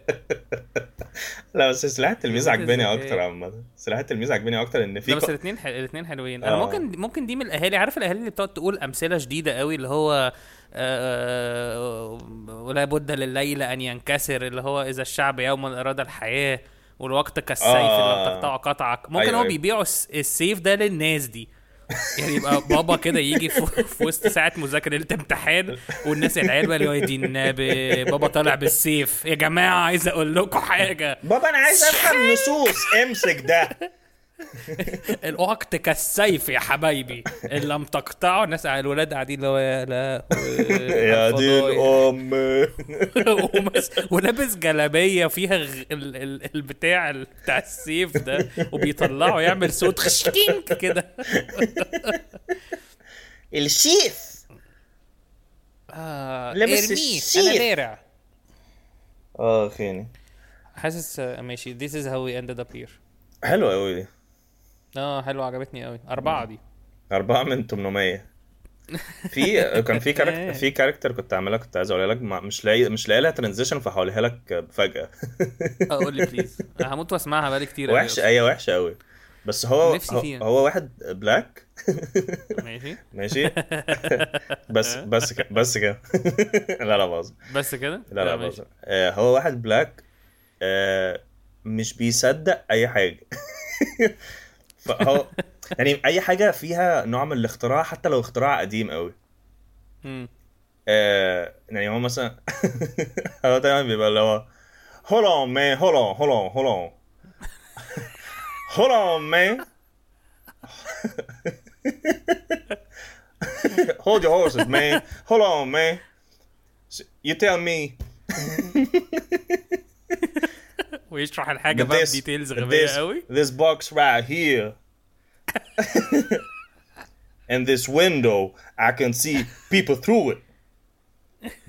Speaker 2: لا بس سلاح التلميذ
Speaker 1: فكرة
Speaker 2: عجباني
Speaker 1: ذكية.
Speaker 2: اكتر عامه سلاح التلميذ عجباني اكتر ان في
Speaker 1: لا بس
Speaker 2: ك-
Speaker 1: الاثنين حل... الاثنين حلوين انا
Speaker 2: آه.
Speaker 1: ممكن ممكن دي من الاهالي عارف الاهالي اللي بتقعد تقول امثله شديده قوي اللي هو آه، ولا بد لليل ان ينكسر اللي هو اذا الشعب يوما اراد الحياه والوقت كالسيف
Speaker 2: آه.
Speaker 1: اللي تقطع قطعك ممكن
Speaker 2: أيوة،
Speaker 1: هو
Speaker 2: أيوة.
Speaker 1: بيبيعوا الس- السيف ده للناس دي يعني يبقى بابا كده يجي في, في وسط ساعه مذاكره ليله امتحان والناس العيال بقى اللي هو يا دين النبي بابا طالع بالسيف يا جماعه عايز اقول لكم حاجه
Speaker 2: بابا انا عايز افهم نصوص امسك ده
Speaker 1: الوقت كالسيف يا حبايبي ان لم تقطعه الناس على الولاد قاعدين اللي هو يا لا
Speaker 2: يا دي الام
Speaker 1: ومس- ولابس جلابيه فيها غ... ال... ال... البتاع ال- بتاع السيف ده وبيطلعه يعمل صوت خشكينك كده
Speaker 2: الشيف
Speaker 1: آه...
Speaker 2: لابس
Speaker 1: ارميه انا
Speaker 2: السيف.
Speaker 1: دارع
Speaker 2: اه خيني
Speaker 1: حاسس آه، ماشي this is how we ended up here
Speaker 2: حلوه قوي دي
Speaker 1: اه حلوه عجبتني قوي اربعه دي
Speaker 2: أربعة من 800 في كان في كاركتر في كاركتر كنت عاملها كنت عايز اقولها لك ما- مش لاقي مش لاقي لها ترانزيشن فهقولها لك فجأة
Speaker 1: آه، قول لي بليز أنا هموت واسمعها بقالي كتير أوي
Speaker 2: وحشة هي وحشة قوي بس هو
Speaker 1: نفسي
Speaker 2: هو-
Speaker 1: فيها.
Speaker 2: هو واحد بلاك
Speaker 1: أصلاً. ماشي
Speaker 2: ماشي بس بس كده بس كده لا لا بهزر
Speaker 1: بس كده
Speaker 2: لا لا
Speaker 1: ماشي.
Speaker 2: بهزر آه، هو واحد بلاك آه، مش بيصدق اي حاجه فهو يعني اي حاجه فيها نوع من الاختراع حتى لو اختراع قديم قوي
Speaker 1: مم.
Speaker 2: آه، يعني هو مثلا هو دايما بيبقى اللي هو hold on man hold on hold on hold on hold on man Hold your horses, man. Hold on, man. S- You tell me
Speaker 1: ويشرح الحاجه
Speaker 2: that
Speaker 1: بقى
Speaker 2: this,
Speaker 1: بديتيلز غبيه
Speaker 2: this,
Speaker 1: قوي
Speaker 2: this box right here and this window, I can see people through it.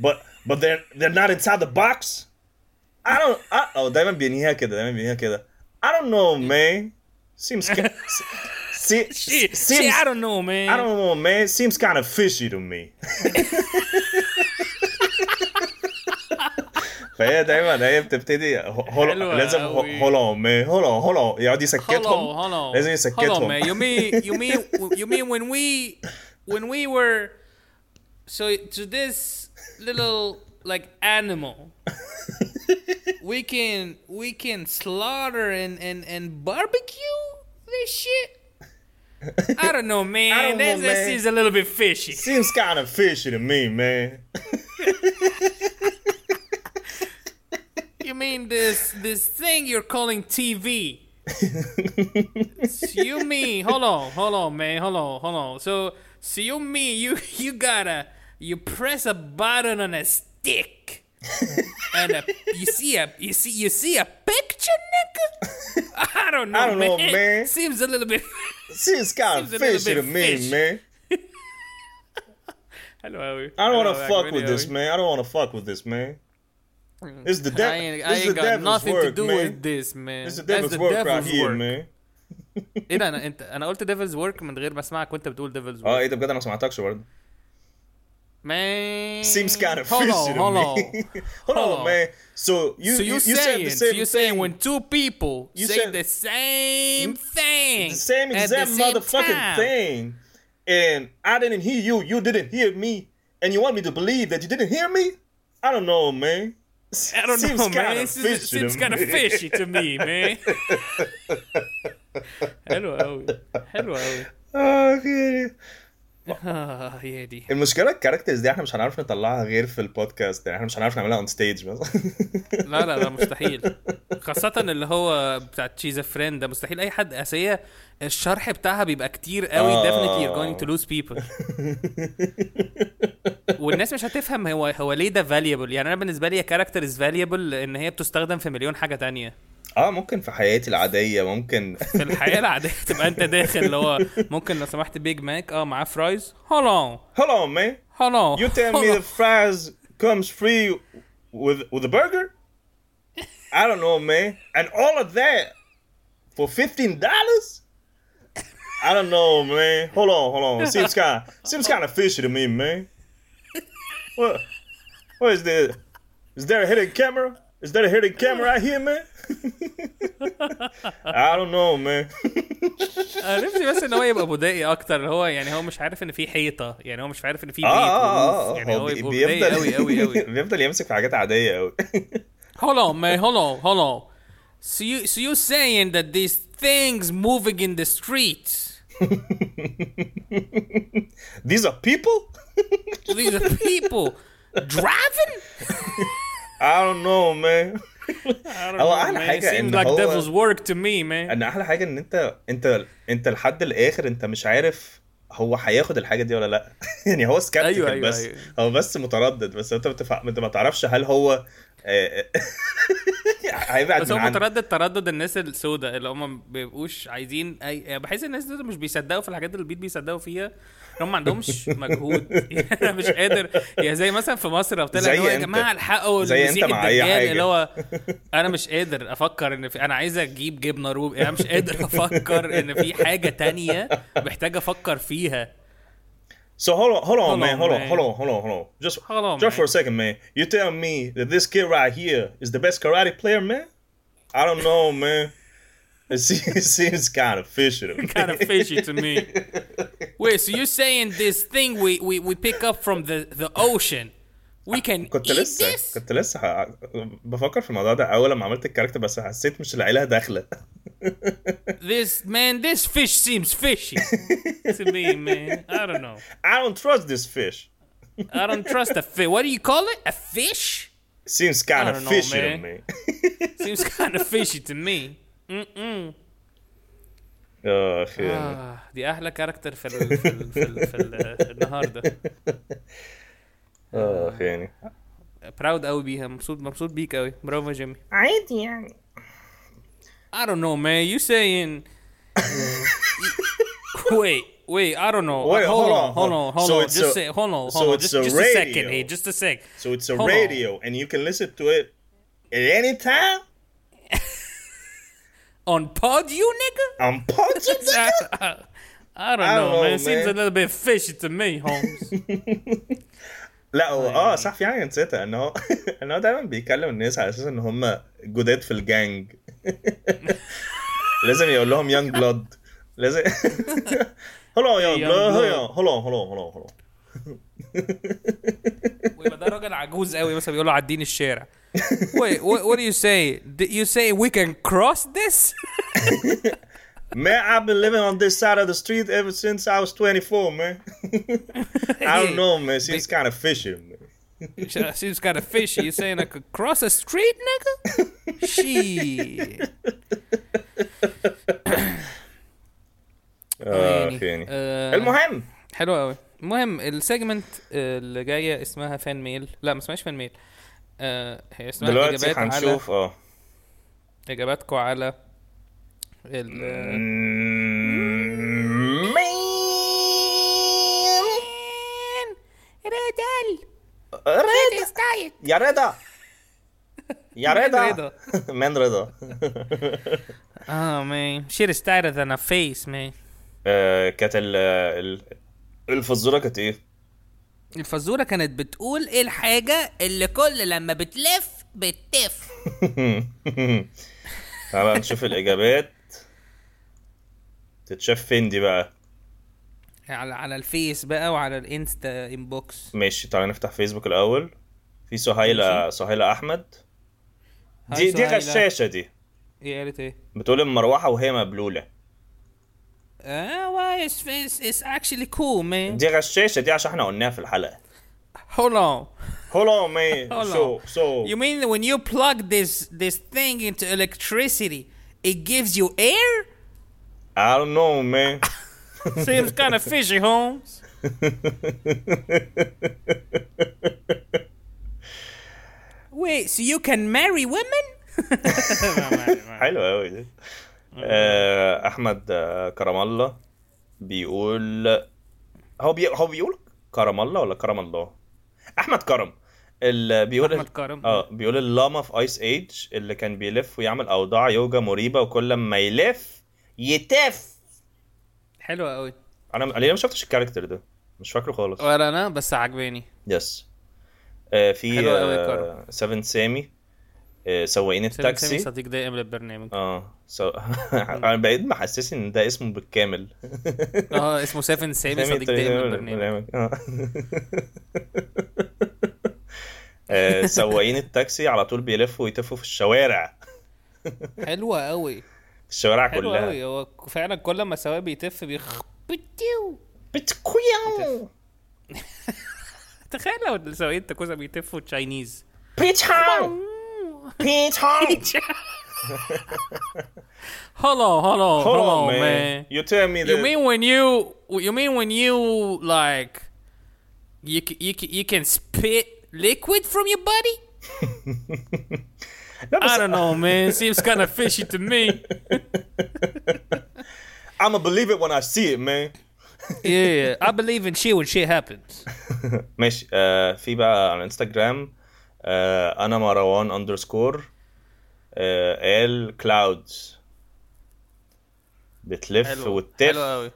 Speaker 2: But but they're they're not inside the box. I don't. I, oh, دايما بينهيها كده دايما بينهيها كده. I don't know, man. Seems ki- see,
Speaker 1: Shit, shit,
Speaker 2: seems
Speaker 1: I don't know man
Speaker 2: I don't know, man. Seems kind of fishy to me. فهي دايما هي بتبتدي هول
Speaker 1: حلوة
Speaker 2: لازم
Speaker 1: أوي.
Speaker 2: هول اون مان هول اون هول اون يقعد
Speaker 1: hold on hold
Speaker 2: يسكتهم
Speaker 1: on hold
Speaker 2: لازم
Speaker 1: on man you
Speaker 2: يسكتهم
Speaker 1: mean you mean you mean when we when we were so to this little like animal we can we can slaughter and and and barbecue this shit I don't know, man.
Speaker 2: I don't
Speaker 1: that,
Speaker 2: know,
Speaker 1: that
Speaker 2: man.
Speaker 1: seems a little bit fishy.
Speaker 2: Seems kind of fishy to me, man.
Speaker 1: You mean this this thing you're calling TV? So you mean hold on, hold on, man, hold on, hold on. So so you mean you you gotta you press a button on a stick and a, you see a you see you see a picture, nigga? I don't know.
Speaker 2: I don't know, man.
Speaker 1: Seems a little bit.
Speaker 2: Seems kind of
Speaker 1: Seems a little
Speaker 2: fishy to
Speaker 1: bit
Speaker 2: me,
Speaker 1: fish.
Speaker 2: man.
Speaker 1: Hello, how are you?
Speaker 2: I don't want
Speaker 1: Hello,
Speaker 2: to fuck
Speaker 1: Agmedia,
Speaker 2: with
Speaker 1: how are
Speaker 2: this,
Speaker 1: you?
Speaker 2: man. I don't want to fuck with this, man. It's the
Speaker 1: I
Speaker 2: devil.
Speaker 1: ain't, I
Speaker 2: It's the
Speaker 1: ain't got
Speaker 2: devil's
Speaker 1: nothing to
Speaker 2: work,
Speaker 1: do
Speaker 2: man.
Speaker 1: with this, man.
Speaker 2: It's the
Speaker 1: That's
Speaker 2: devil's
Speaker 1: the
Speaker 2: work right
Speaker 1: devil's
Speaker 2: here,
Speaker 1: work.
Speaker 2: man.
Speaker 1: ايه ده انا انت انا قلت ديفلز ورك من غير ما اسمعك وانت بتقول ديفلز
Speaker 2: اه
Speaker 1: ورك
Speaker 2: ايه ده بجد انا ما سمعتكش برضه.
Speaker 1: Man.
Speaker 2: Uh, seems kind of
Speaker 1: hold
Speaker 2: fishy
Speaker 1: on,
Speaker 2: to
Speaker 1: hold
Speaker 2: me.
Speaker 1: on.
Speaker 2: hold
Speaker 1: Hold
Speaker 2: on,
Speaker 1: on.
Speaker 2: man. So you
Speaker 1: So
Speaker 2: you,
Speaker 1: you're
Speaker 2: you said
Speaker 1: saying,
Speaker 2: the
Speaker 1: so
Speaker 2: same
Speaker 1: you're
Speaker 2: thing.
Speaker 1: saying when two people
Speaker 2: You
Speaker 1: say
Speaker 2: said- Hmm?
Speaker 1: the same thing,
Speaker 2: the same
Speaker 1: at
Speaker 2: exact
Speaker 1: the same
Speaker 2: motherfucking
Speaker 1: time.
Speaker 2: thing, and I didn't hear you. You didn't hear me, and you want me to believe that you didn't hear me? I don't know, man.
Speaker 1: I don't
Speaker 2: seems
Speaker 1: know,
Speaker 2: kinda
Speaker 1: man. This
Speaker 2: fishy to
Speaker 1: is, seems
Speaker 2: me.
Speaker 1: kind of fishy to me, man. حلو قوي حلو قوي
Speaker 2: آه، خير.
Speaker 1: اه يا دي
Speaker 2: المشكله الكاركترز دي احنا مش هنعرف نطلعها غير في البودكاست يعني احنا مش هنعرف نعملها اون ستيج بس
Speaker 1: لا لا لا مستحيل خاصة اللي هو بتاع تشيز فريند ده مستحيل أي حد أساسية الشرح بتاعها بيبقى كتير قوي
Speaker 2: آه.
Speaker 1: definitely you're going to lose people والناس مش هتفهم هو هو ليه ده valuable يعني أنا بالنسبة لي كاركتر از valuable لأن هي بتستخدم في مليون حاجة تانية
Speaker 2: اه ممكن في حياتي العاديه ممكن
Speaker 1: في الحياة العادية تبقى أنت داخل اللي هو ممكن لو سمحت بيج ماك أه معاه فرايز هولون
Speaker 2: Hold on, man.
Speaker 1: هولون
Speaker 2: You tell me the fries comes free with with a burger? I don't know, man. And all of that for fifteen dollars? I don't know, man. Hold on, hold on. Seems kind seems kind of fishy to me, man. What? What is this? Is there a hidden camera? Is there a hidden camera out here, man? I don't know, man.
Speaker 1: أنا نفسي بس ان هو يبقى بدائي اكتر اللي هو يعني هو مش عارف ان في حيطه يعني هو مش عارف
Speaker 2: Ah,
Speaker 1: ان في
Speaker 2: آه،
Speaker 1: بيت وروف. يعني هو
Speaker 2: بي-
Speaker 1: يبقى بدائي قوي قوي قوي
Speaker 2: بيفضل يمسك في حاجات عادية قوي
Speaker 1: Hold on, man. Hold on. Hold on. So you so you saying that these things moving in the streets,
Speaker 2: These are people?
Speaker 1: these are people driving?
Speaker 2: I don't know man
Speaker 1: Oh, I don't
Speaker 2: هو أحلى
Speaker 1: It
Speaker 2: حاجة
Speaker 1: seems
Speaker 2: إن
Speaker 1: like
Speaker 2: هو-
Speaker 1: devil's work to me, man.
Speaker 2: ان احلى حاجة ان انت انت انت لحد الاخر انت مش عارف هو هياخد الحاجة دي ولا لا يعني هو سكبتك
Speaker 1: أيوة، أيوة،
Speaker 2: بس
Speaker 1: أيوة.
Speaker 2: هو بس متردد بس انت بتفع... انت ما تعرفش هل هو آه، آه، هيبعد
Speaker 1: بس
Speaker 2: من
Speaker 1: هو
Speaker 2: عندك
Speaker 1: متردد تردد الناس السوداء اللي هم ما بيبقوش عايزين اي بحس الناس دول مش بيصدقوا في الحاجات اللي البيت بيصدقوا فيها هم ما عندهمش مجهود يعني انا مش قادر يعني زي مثلا في مصر لو طلع
Speaker 2: زي
Speaker 1: اللي هو يا
Speaker 2: أنت.
Speaker 1: جماعه الحقوا
Speaker 2: زي أنت
Speaker 1: المسيح
Speaker 2: مع أي
Speaker 1: الدجال
Speaker 2: حاجة.
Speaker 1: اللي هو انا مش قادر افكر ان في انا عايز اجيب جبنه روب انا يعني مش قادر افكر ان في حاجه تانية محتاج افكر فيها
Speaker 2: So hold on, hold on,
Speaker 1: Hold
Speaker 2: man,
Speaker 1: on,
Speaker 2: hold on,
Speaker 1: man.
Speaker 2: hold on, hold on, hold on. Just
Speaker 1: Hold on,
Speaker 2: just for
Speaker 1: man.
Speaker 2: a second, man. You tell me that this kid right here is the best karate player, man? I don't know, man. It seems, it seems kind of fishy to me.
Speaker 1: kind of fishy to me. Wait, so you're saying this thing we, we, we pick up from the, the ocean, we can eat
Speaker 2: كنت لسه
Speaker 1: this?
Speaker 2: كنت لسه ح... بفكر في الموضوع ده اول لما عملت الكاركتر بس حسيت مش العيله داخله
Speaker 1: This man, this fish seems fishy to me, man. I don't know.
Speaker 2: I don't trust this fish.
Speaker 1: I don't trust a fish. What do you call it? A fish?
Speaker 2: Seems kind
Speaker 1: I
Speaker 2: of
Speaker 1: don't know,
Speaker 2: fishy to
Speaker 1: man.
Speaker 2: me.
Speaker 1: Seems kind of fishy to me.
Speaker 2: آه، اخي
Speaker 1: آه. دي احلى كاركتر في ال في ال في, ال في ال النهارده
Speaker 2: اخ يعني
Speaker 1: براود قوي بيها مبسوط مبسوط بيك قوي برافو يا جيمي
Speaker 2: عادي يعني
Speaker 1: I don't know man you saying wait wait I don't know
Speaker 2: Wait,
Speaker 1: hold,
Speaker 2: hold
Speaker 1: on,
Speaker 2: on,
Speaker 1: hold
Speaker 2: hold
Speaker 1: on
Speaker 2: on.
Speaker 1: hold
Speaker 2: So
Speaker 1: on
Speaker 2: it's
Speaker 1: just
Speaker 2: a-
Speaker 1: say hold on hold
Speaker 2: so
Speaker 1: on
Speaker 2: it's
Speaker 1: just,
Speaker 2: a
Speaker 1: just a second
Speaker 2: radio.
Speaker 1: hey just a sec
Speaker 2: So it's a
Speaker 1: Hold on.
Speaker 2: radio and you can listen to it at any time
Speaker 1: on pod you nigga
Speaker 2: on Podbean.
Speaker 1: I, I- I don't know man.
Speaker 2: know,
Speaker 1: It seems a
Speaker 2: man.
Speaker 1: little bit fishy to me Holmes
Speaker 2: لا هو اه صح في حاجه نسيتها ان هو ان هو دايما بيكلم الناس على اساس ان هم جداد في الجانج لازم يقول لهم يانج بلاد لازم هلا يا
Speaker 1: Young
Speaker 2: بلاد هلا
Speaker 1: blood.
Speaker 2: هلا هلا هلا هلا
Speaker 1: ويبقى ده راجل عجوز قوي مثلا بيقول له عديني الشارع wait what, what do you say Do you say we can cross this
Speaker 2: Man, I've been living on this side of the street ever since I was 24, man. I don't know, man. Seems kind of fishy. Man.
Speaker 1: she's kind of fishy you saying I could cross a street nigga shit
Speaker 2: آه،
Speaker 1: يعني،
Speaker 2: يعني.
Speaker 1: آه،
Speaker 2: Uh, المهم
Speaker 1: حلو قوي المهم السيجمنت اللي جايه اسمها فان ميل لا ما اسمهاش فان ميل آه، هي اسمها
Speaker 2: دلوقتي
Speaker 1: اجابات على
Speaker 2: هنشوف اه
Speaker 1: اجاباتكم على ال-
Speaker 2: مم، مين؟
Speaker 3: ريدل
Speaker 2: رضا
Speaker 3: ستايل
Speaker 2: يا رضا يا
Speaker 1: مين
Speaker 2: رضا
Speaker 1: رضا؟
Speaker 2: من رضا
Speaker 1: اه مان شير ستاير ذان فيس مان
Speaker 2: آه، كانت ال- ال- الفزوره كانت ايه؟
Speaker 1: الفزوره كانت بتقول ايه الحاجه اللي كل لما بتلف بتف
Speaker 2: تعالى نشوف الاجابات تتشاف فين دي بقى
Speaker 1: على على الفيس بقى وعلى الانستا انبوكس
Speaker 2: ماشي تعالى نفتح فيسبوك الاول في سهيله سهيله احمد دي
Speaker 1: هاي
Speaker 2: دي
Speaker 1: سهيلة.
Speaker 2: غشاشه دي
Speaker 1: ايه قالت ايه؟
Speaker 2: بتقول المروحه وهي مبلوله
Speaker 1: اه واي اتس اكشلي كول مان
Speaker 2: دي غشاشه دي عشان احنا قلناها في الحلقه
Speaker 1: هولد اون
Speaker 2: هولو مي
Speaker 1: Hold
Speaker 2: سو
Speaker 1: on.
Speaker 2: سو
Speaker 1: You mean when you plug this this thing into electricity, it gives you air?
Speaker 2: I don't know man
Speaker 1: Seems kind of fishy, Holmes. Wait, so you can marry women?
Speaker 2: حلو قوي دي آه، احمد آه، كرم الله بيقول هو بي... هو بيقول كرم الله ولا كرم الله احمد كرم اللي بيقول
Speaker 1: أحمد كرم.
Speaker 2: اه بيقول اللاما في ايس ايج اللي كان بيلف ويعمل اوضاع يوجا مريبه وكل ما يلف يتف
Speaker 1: حلو قوي
Speaker 2: انا انا ليه ما شفتش الكاركتر ده مش فاكره خالص
Speaker 1: ولا انا بس عجباني
Speaker 2: يس آه، في
Speaker 1: حلو أوي كرم.
Speaker 2: آه، سفن سامي آه، سواقين
Speaker 1: سامي سامي
Speaker 2: التاكسي
Speaker 1: صديق دائم للبرنامج
Speaker 2: اه سو انا بقيت محسسني ان ده اسمه بالكامل
Speaker 1: اه اسمه سيفن سامي صديق دائم للبرنامج
Speaker 2: آه. آه، سواقين التاكسي على طول بيلفوا ويتفوا في الشوارع
Speaker 1: حلوة قوي
Speaker 2: في الشوارع
Speaker 1: حلوة
Speaker 2: كلها
Speaker 1: قوي هو فعلا كل ما سواق بيتف بيخ
Speaker 3: بتيو
Speaker 2: بتكويو
Speaker 1: تخيل لو السواقين التكوزة بيتفوا تشاينيز
Speaker 2: بيتش هاو بيتش هاو
Speaker 1: Hello, hello, hello,
Speaker 2: Hold on,
Speaker 1: Oh, man.
Speaker 2: Oh, man. You tell me
Speaker 1: You
Speaker 2: that
Speaker 1: mean when you you mean when you like you c- you c- you can spit liquid from your body?
Speaker 2: لا بس
Speaker 1: I don't know, man. Seems kind of fishy to me.
Speaker 2: I'm gonna believe it when I see it man
Speaker 1: Yeah, I believe in shit when shit happens.
Speaker 2: ماشي آه في بقى على انستجرام آه انا مروان اندرسكور آه ال كلاودز بتلف
Speaker 1: حلو حلو
Speaker 2: وتلف
Speaker 1: قوي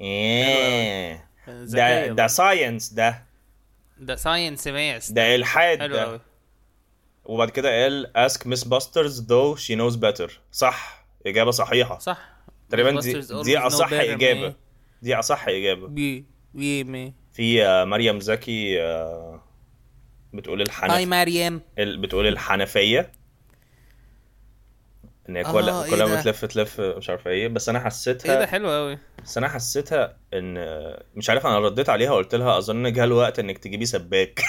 Speaker 2: ايه
Speaker 1: ذكية
Speaker 2: ده ده
Speaker 1: برضه.
Speaker 2: ساينس ده
Speaker 1: ده ساينس ماس
Speaker 2: ده الحاد
Speaker 1: حلو قوي
Speaker 2: ده وبعد كده قال اسك مس باسترز though she knows better صح اجابه صحيحه
Speaker 1: صح
Speaker 2: تقريبا دي,
Speaker 1: Ghostbusters always
Speaker 2: دي
Speaker 1: know
Speaker 2: اصح
Speaker 1: better,
Speaker 2: اجابه
Speaker 1: man.
Speaker 2: دي اصح اجابه
Speaker 1: Yeah, yeah, man.
Speaker 2: في آه، مريم زكي آه، بتقول
Speaker 1: Hi,
Speaker 2: الحنفي
Speaker 1: Mariam.
Speaker 2: ال- بتقول الحنفيه ان هي كل
Speaker 1: آه، إيه
Speaker 2: كل
Speaker 1: ده؟
Speaker 2: ما تلف تلف مش عارف ايه بس انا
Speaker 1: ايه ده
Speaker 2: حسيتها
Speaker 1: حلو قوي
Speaker 2: بس انا حسيتها ان مش عارف انا رديت عليها وقلت لها اظن جه الوقت انك تجيبي سباك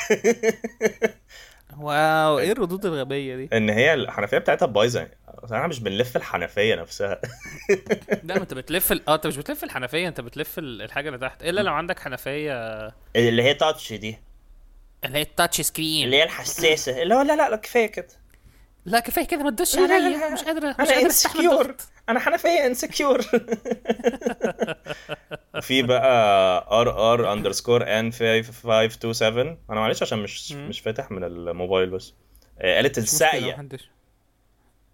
Speaker 1: واو ايه الردود الغبيه دي
Speaker 2: ان هي الحنفيه بتاعتها بايظه يعني أصل احنا مش بنلف الحنفيه نفسها
Speaker 1: لا ما انت بتلف ال- اه انت مش بتلف الحنفيه انت بتلف ال- الحاجه اللي تحت الا لو عندك حنفيه
Speaker 2: اللي هي تاتش دي
Speaker 1: اللي هي التاتش سكرين
Speaker 2: اللي هي الحساسه اللي هو لا لا لا كفايه كده
Speaker 1: لا كفايه كده ما تدوسش
Speaker 2: لا، لا، لا،
Speaker 1: عليا
Speaker 2: لا.
Speaker 1: مش قادره مش
Speaker 2: انا
Speaker 1: قادره استحمل
Speaker 2: انسكيور
Speaker 1: الضغط
Speaker 2: انا حنفيه انسكيور في بقى ار ار اندرسكور ان 5527 انا معلش عشان مش مش فاتح من الموبايل بس آه، قالت الساقيه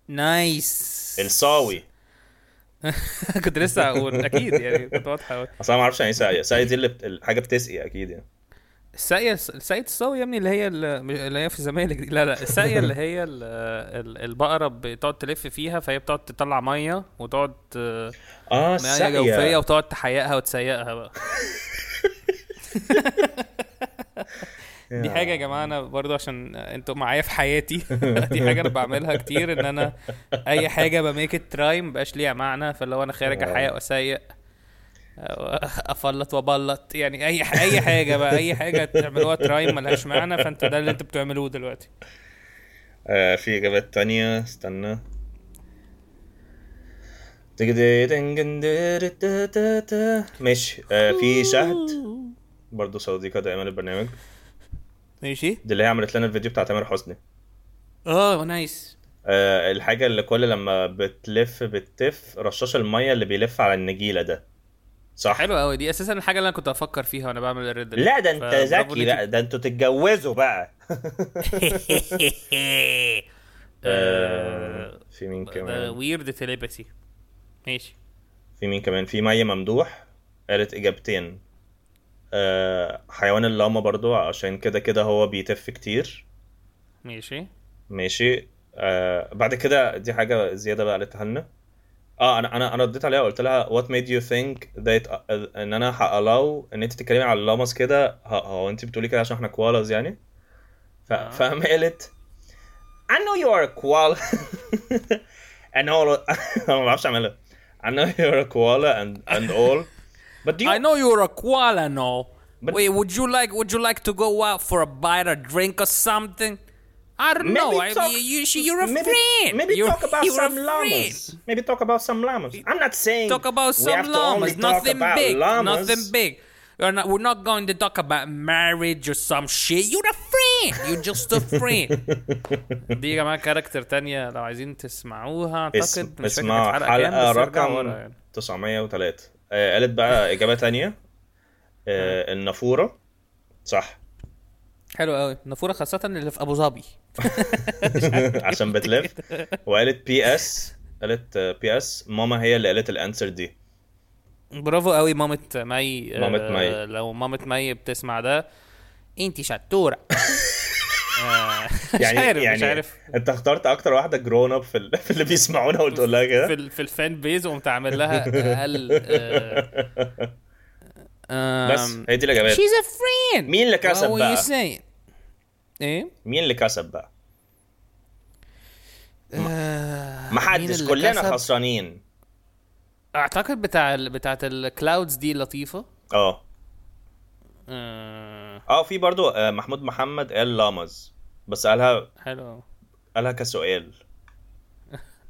Speaker 1: نايس
Speaker 2: الصاوي
Speaker 1: كنت لسه هقول اكيد يعني كنت واضحه قوي
Speaker 2: اصل انا ما اعرفش يعني ايه ساقيه ساقيه دي اللي بت- الحاجه بتسقي اكيد يعني
Speaker 1: الساقيه الساقيه الصاوي يا ابني اللي هي ال- مش- اللي هي في الزمالك دي لا لا الساقيه اللي هي ال- ال- البقره بتقعد تلف فيها فهي بتقعد تطلع ميه وتقعد آه،
Speaker 2: اه
Speaker 1: ميه جوفيه
Speaker 2: الساقيه
Speaker 1: وتقعد تحيقها وتسيقها بقى دي حاجه يا جماعه انا برضو عشان انتوا معايا في حياتي دي حاجه انا بعملها كتير ان انا اي حاجه بميك ات تراي مبقاش ليها معنى فاللي هو انا خارج احيق واسيق أو افلط وابلط يعني اي اي حاجه بقى اي حاجه تعملوها ترايم ملهاش معنى فانت ده اللي انتوا بتعملوه دلوقتي
Speaker 2: آه، في اجابات تانية استنى ماشي آه، في شهد برضه صديقة دائما للبرنامج
Speaker 1: ماشي
Speaker 2: دي اللي هي عملت لنا الفيديو بتاع تامر حسني
Speaker 1: اه نايس
Speaker 2: آه، الحاجة اللي كل لما بتلف بتف رشاش المية اللي بيلف على النجيلة ده صح؟
Speaker 1: حلو قوي دي اساسا الحاجه اللي انا كنت افكر فيها وانا بعمل الريد
Speaker 2: لا ده انت
Speaker 1: فبرافو
Speaker 2: ذكي
Speaker 1: ليكي.
Speaker 2: بقى ده انتوا تتجوزوا بقى آه،
Speaker 1: آه،
Speaker 2: في مين
Speaker 1: ده
Speaker 2: كمان؟
Speaker 1: ويرد تيليباثي ماشي
Speaker 2: في مين كمان؟ في مية ممدوح قالت إجابتين آه، حيوان اللاما برضو عشان كده كده هو بيتف كتير
Speaker 1: ماشي
Speaker 2: ماشي آه بعد كده دي حاجه زياده بقى قالتها لنا اه انا انا انا رديت عليها وقلت لها what made you think that آه، ان انا هالاو ان انت تتكلمي على اللامس كده ه- هو انت بتقولي كده عشان احنا كوالاز يعني ف... فقام قالت I know you are a koala and all انا ما بعرفش اعملها I know you are a koala and and all but do you
Speaker 1: I know you're a koala now.
Speaker 2: But-
Speaker 1: Wait, would you like would you like to go out for a bite or drink or something? I don't
Speaker 2: maybe
Speaker 1: know. I,
Speaker 2: talk-
Speaker 1: you, you, you're a
Speaker 2: maybe,
Speaker 1: friend.
Speaker 2: Maybe
Speaker 1: you're,
Speaker 2: talk about
Speaker 1: you're a
Speaker 2: some
Speaker 1: friend.
Speaker 2: llamas. Maybe talk about some llamas. I'm not saying
Speaker 1: Talk about
Speaker 2: we
Speaker 1: some
Speaker 2: have to only
Speaker 1: llamas.
Speaker 2: talk
Speaker 1: Nothing
Speaker 2: about
Speaker 1: big.
Speaker 2: llamas.
Speaker 1: Nothing big. We're not, we're not going to talk about marriage or some shit. You're a friend. You're just a friend. دي يا جماعة كاركتر تانية لو عايزين تسمعوها
Speaker 2: اسم-
Speaker 1: أعتقد مش فاكر كانت
Speaker 2: اسمها
Speaker 1: حلقة كام،
Speaker 2: حلقة
Speaker 1: بس ارجعوا ورا
Speaker 2: uh, رقم
Speaker 1: يعني.
Speaker 2: 903 آه، قالت بقى إجابة تانية آه، النافورة صح
Speaker 1: حلو قوي نافورة خاصة اللي في أبو ظبي
Speaker 2: عشان بتلف وقالت بي اس قالت بي اس ماما هي اللي قالت الانسر دي
Speaker 1: برافو قوي مامة مي آه،
Speaker 2: مامة مي.
Speaker 1: لو مامة مي بتسمع ده انت شطوره آه، مش
Speaker 2: يعني
Speaker 1: عارف
Speaker 2: يعني
Speaker 1: مش عارف
Speaker 2: انت اخترت اكتر واحده جرون اب في ال- في اللي بيسمعونا وتقول لها
Speaker 1: في
Speaker 2: كده
Speaker 1: ال- في الفان بيز وقمت عامل لها آه، اقل
Speaker 2: بس هي دي الاجابات
Speaker 1: شيز ا فريند
Speaker 2: مين اللي كسب بقى؟
Speaker 1: ايه
Speaker 2: مين اللي كسب بقى؟
Speaker 1: آه، مين
Speaker 2: محدش
Speaker 1: اللي
Speaker 2: كلنا
Speaker 1: كسب؟
Speaker 2: خسرانين
Speaker 1: اعتقد بتاع ال- بتاعت الكلاودز دي لطيفه
Speaker 2: اه
Speaker 1: آه،
Speaker 2: اه في برضو آه، محمود محمد قال لامز بس قالها
Speaker 1: حلو
Speaker 2: قالها كسؤال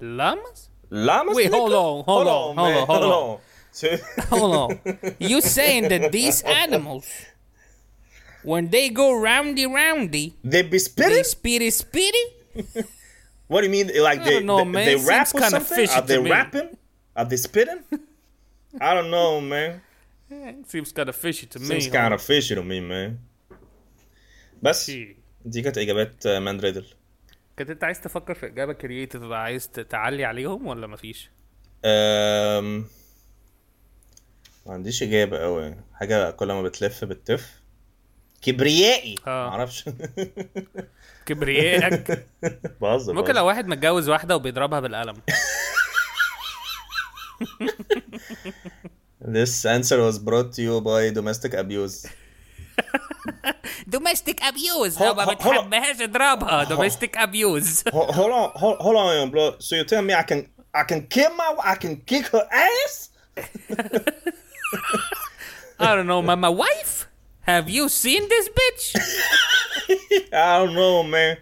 Speaker 1: لامس
Speaker 2: لامز
Speaker 1: Wait,
Speaker 2: نيكو؟
Speaker 1: hold on, hold on, hold on,
Speaker 2: man,
Speaker 1: hold
Speaker 2: hold on. So-
Speaker 1: Hold on. Oh You saying that these animals, when they go roundy roundy,
Speaker 2: they be
Speaker 1: they
Speaker 2: spitting?
Speaker 1: spitty spitty?
Speaker 2: What do you mean? Like they
Speaker 1: don't know,
Speaker 2: they,
Speaker 1: man.
Speaker 2: they
Speaker 1: Seems
Speaker 2: rap or
Speaker 1: kinda
Speaker 2: something?
Speaker 1: fishy
Speaker 2: Are they
Speaker 1: to me.
Speaker 2: rapping? Are they spitting? I don't know, man.
Speaker 1: Seems kind of fishy to
Speaker 2: Seems kind of fishy to me, man. بس دي كانت اجابات آه، مان ريدل
Speaker 1: كنت انت عايز تفكر في اجابه كرييتيف بقى عايز تعلي عليهم ولا مفيش؟
Speaker 2: أم... ما عنديش اجابه قوي حاجه كل ما بتلف بتف كبريائي
Speaker 1: آه.
Speaker 2: معرفش
Speaker 1: كبريائك
Speaker 2: بهزر
Speaker 1: ممكن
Speaker 2: بهزر.
Speaker 1: لو واحد متجوز واحده وبيضربها بالقلم
Speaker 2: This answer was brought to you by domestic abuse
Speaker 1: دوميستيك ابيوز
Speaker 2: هو-
Speaker 1: لو ما
Speaker 2: هو- هو-
Speaker 1: بتحبهاش اضربها دوميستيك ابيوز
Speaker 2: Ho- Hold on, hold, hold on, young blood. So you tell me I can I can kill my I can kick her ass?
Speaker 1: I don't know, my, my wife? Have you seen this bitch?
Speaker 2: I don't know man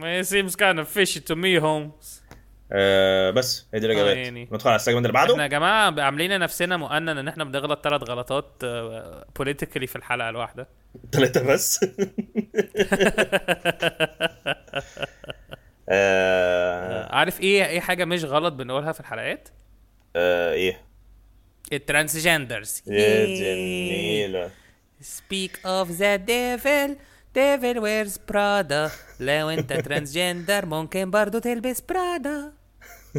Speaker 1: Man, it seems kind of fishy to me, Holmes.
Speaker 2: آه بس هي دي الاجابات
Speaker 1: آه، يعني.
Speaker 2: ندخل على السيجمنت اللي
Speaker 1: احنا
Speaker 2: بعده
Speaker 1: يا جماعه عاملين نفسنا مؤنن ان احنا بنغلط ثلاث غلطات بوليتيكلي في الحلقه الواحده
Speaker 2: ثلاثة بس آه
Speaker 1: عارف ايه ايه حاجه مش غلط بنقولها في الحلقات
Speaker 2: آه ايه
Speaker 1: Eh, الترانسجندرز
Speaker 2: يا
Speaker 1: إيه.
Speaker 2: جميلة
Speaker 1: سبيك اوف ذا ديفل ديفل ويرز برادا لو انت ترانسجندر ممكن برضو تلبس برادا Uh,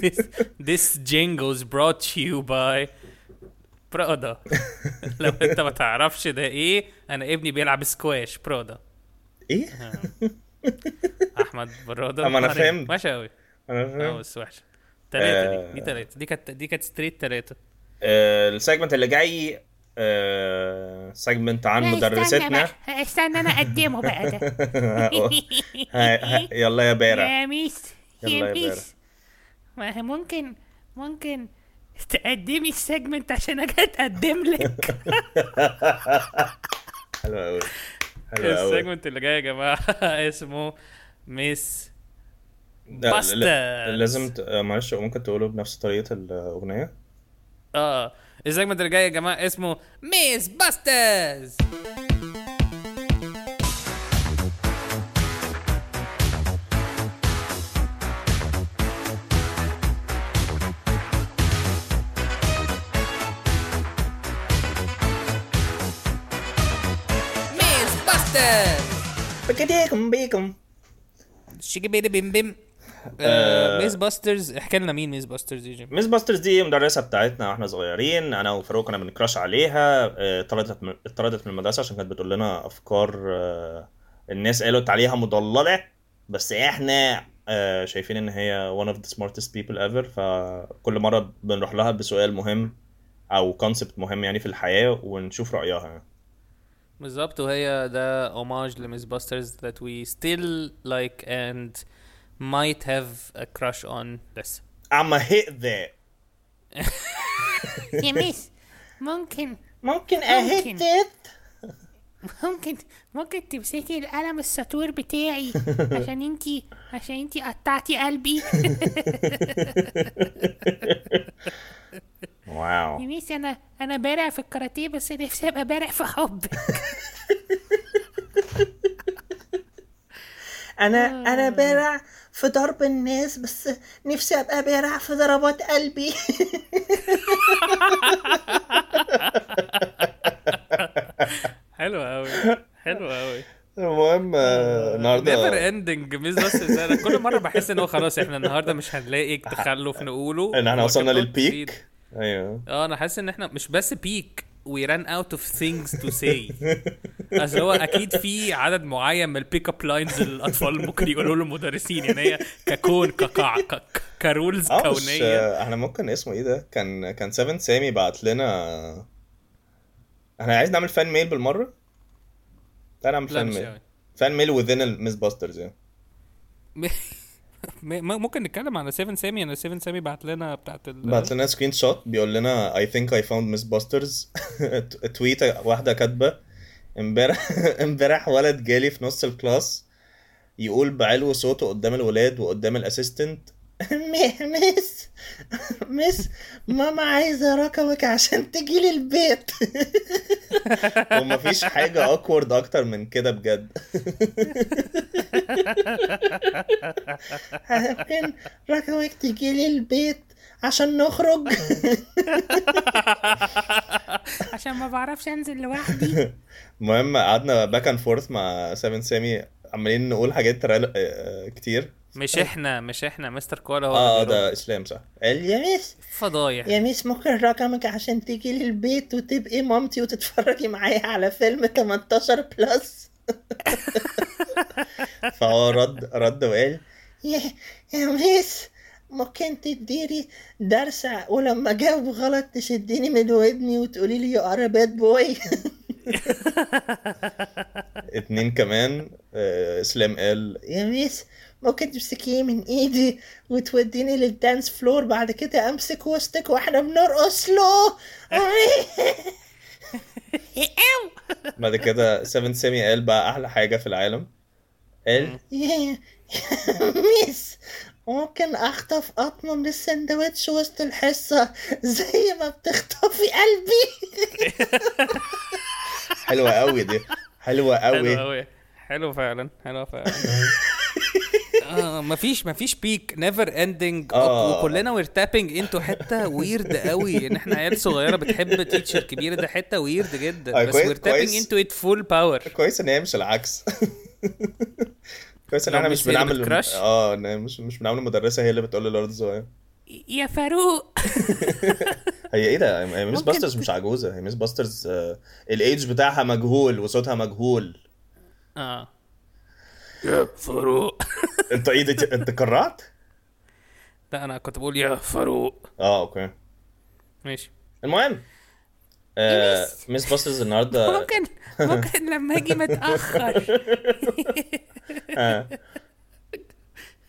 Speaker 1: this, this jingle is brought to you by برادا لو انت ما تعرفش ده ايه انا ابني بيلعب سكواش برادا
Speaker 2: ايه؟
Speaker 1: احمد برادا
Speaker 2: أما أنا
Speaker 1: نهارين.
Speaker 2: فهمت.
Speaker 1: وحشه قوي
Speaker 2: انا
Speaker 1: اه
Speaker 2: فاهم
Speaker 1: بس وحشه تلاتة
Speaker 2: آه.
Speaker 1: دي دي تلاتة دي كانت دي كانت ستريت تلاتة
Speaker 2: آه السيجمنت اللي جاي آه سيجمنت عن مدرستنا
Speaker 3: بقى. استنى انا اقدمه بقى ده
Speaker 2: ها- ها- يلا يا بارع
Speaker 3: يا ميس
Speaker 2: يلا
Speaker 3: يا
Speaker 2: يا
Speaker 3: ميس ما هي ممكن ممكن تقدمي السيجمنت عشان اجي اتقدم لك
Speaker 2: حلو قوي حلو قوي
Speaker 1: السيجمنت اللي جاي يا جماعه اسمه ميس باسترز.
Speaker 2: لازم ت- آه، معلش ممكن تقوله بنفس طريقة الأغنية
Speaker 1: اه السيجمنت اللي جاي يا جماعه اسمه ميس باسترز ميس باسترز
Speaker 2: بكديكم بيكم
Speaker 1: شيكي بيدي بيم بيم
Speaker 2: آه.
Speaker 1: ميس باسترز احكي لنا مين ميس باسترز يا جيم
Speaker 2: ميس باسترز دي مدرسه بتاعتنا واحنا صغيرين انا وفاروق كنا بنكراش عليها آه، طردت من اتطردت من المدرسه عشان كانت بتقول لنا افكار آه، الناس قالت عليها مضلله بس احنا آه، شايفين ان هي one of the smartest people ever فكل مره بنروح لها بسؤال مهم او كونسبت مهم يعني في الحياه ونشوف رايها يعني.
Speaker 1: بالظبط وهي ده homage لميس باسترز that we still like and might have a crush on لسه
Speaker 2: I'm a hit that
Speaker 3: يا ميس ممكن
Speaker 2: ممكن
Speaker 3: ممكن.
Speaker 2: اهيت that
Speaker 3: ممكن ممكن تمسكي القلم السطور بتاعي عشان انتي عشان انتي قطعتي قلبي
Speaker 2: واو
Speaker 3: يا ميس انا انا بارع في الكاراتيه بس نفسي ابقى بارع في حب
Speaker 2: انا انا بارع في ضرب الناس بس نفسي ابقى بارع في ضربات قلبي
Speaker 1: حلوة أوي حلوة أوي
Speaker 2: المهم آه،
Speaker 1: نيفر
Speaker 2: النهارده
Speaker 1: اندنج ميس باسترز انا كل مرة بحس ان هو خلاص احنا النهارده مش هنلاقي تخلف نقوله
Speaker 2: ان احنا وصلنا
Speaker 1: وكمان
Speaker 2: للبيك
Speaker 1: تفيد.
Speaker 2: ايوه
Speaker 1: اه انا حاسس ان احنا مش بس بيك we ran out of things to say اصل هو اكيد في عدد معين من البيك اب لاينز الاطفال ممكن يقولوا له المدرسين يعني هي ككون كقاع ك- ك- كرولز
Speaker 2: اه مش
Speaker 1: كونيه
Speaker 2: آه، احنا ممكن اسمه ايه ده كان كان 7 سامي بعت لنا احنا عايز نعمل فان ميل بالمره تعال نعمل
Speaker 1: لا مش
Speaker 2: فان ميل
Speaker 1: قوي
Speaker 2: فان ميل وذين الميس باسترز يعني
Speaker 1: ممكن نتكلم على 7 سامي انا 7 سامي بعت لنا بتاعت ال
Speaker 2: بعت لنا سكرين شوت بيقول لنا اي ثينك اي فاوند ميس باسترز تويت واحده كاتبه امبارح امبارح ولد جالي في نص الكلاس يقول بعلو صوته قدام الولاد وقدام الاسيستنت مس مس ماما عايزه رقمك عشان تجيلي البيت ومفيش حاجه اكورد اكتر من كده بجد ممكن رقمك تجيلي البيت عشان نخرج
Speaker 3: عشان ما بعرفش انزل لوحدي
Speaker 2: المهم قعدنا باك اند فورث مع 7 سامي عمالين نقول حاجات رل... كتير
Speaker 1: مش احنا مش احنا مستر كوالا هو
Speaker 2: اه
Speaker 1: اللي بيقول
Speaker 2: ده يعني اسلام صح قال يا ميس
Speaker 1: فضايح
Speaker 2: يا ميس ممكن رقمك عشان تيجي لي البيت وتبقي مامتي وتتفرجي معايا على فيلم 18 بلس فهو رد رد وقال يا يا ميس ممكن تديري درس ولما جاوب غلط تشديني من ودني وتقولي لي يو ار باد بوي اتنين كمان آه، اسلام قال يا ميس ممكن تمسكيه من ايدي وتوديني للدانس فلور بعد كده امسك وسطك واحنا بنرقص له
Speaker 3: او
Speaker 2: بعد كده 7 سامي قال بقى احلى حاجه في العالم قال
Speaker 4: ميس ممكن اخطف قطمه من السندوتش وسط الحصه زي ما بتخطفي قلبي
Speaker 2: حلوه قوي دي حلوه
Speaker 1: حلو
Speaker 2: قوي
Speaker 1: قوي حلو فعلا حلو فعلا اه مفيش مفيش بيك نيفر اندنج
Speaker 2: آه.
Speaker 1: وكلنا وير تابنج انتو حته ويرد قوي ان احنا عيال صغيره بتحب تيتشر كبيره ده حته ويرد
Speaker 2: آه،
Speaker 1: جدا بس
Speaker 2: كويس-
Speaker 1: وير تابنج
Speaker 2: كويس.
Speaker 1: انتو ات فول باور
Speaker 2: كويس ان هي مش العكس كويس ان
Speaker 1: لو
Speaker 2: احنا
Speaker 1: ميس
Speaker 2: مش
Speaker 1: هي اللي
Speaker 2: بنعمل
Speaker 1: بتكراش؟
Speaker 2: اه إن هي مش مش بنعمل مدرسه هي اللي بتقول له الارض صغيره
Speaker 3: يا فاروق
Speaker 2: هي ايه ده هي ميس
Speaker 3: ممكن
Speaker 2: باسترز مش عجوزه هي ميس باسترز آه، الايدج بتاعها مجهول وصوتها مجهول
Speaker 1: اه يا فاروق
Speaker 2: انت ايه ده انت كرعت
Speaker 1: لا انا كنت بقول يا فاروق
Speaker 2: اه اوكي
Speaker 1: ماشي
Speaker 2: المهم آه، ميس باسترز النهارده
Speaker 3: ممكن ممكن لما اجي متاخر
Speaker 2: آه.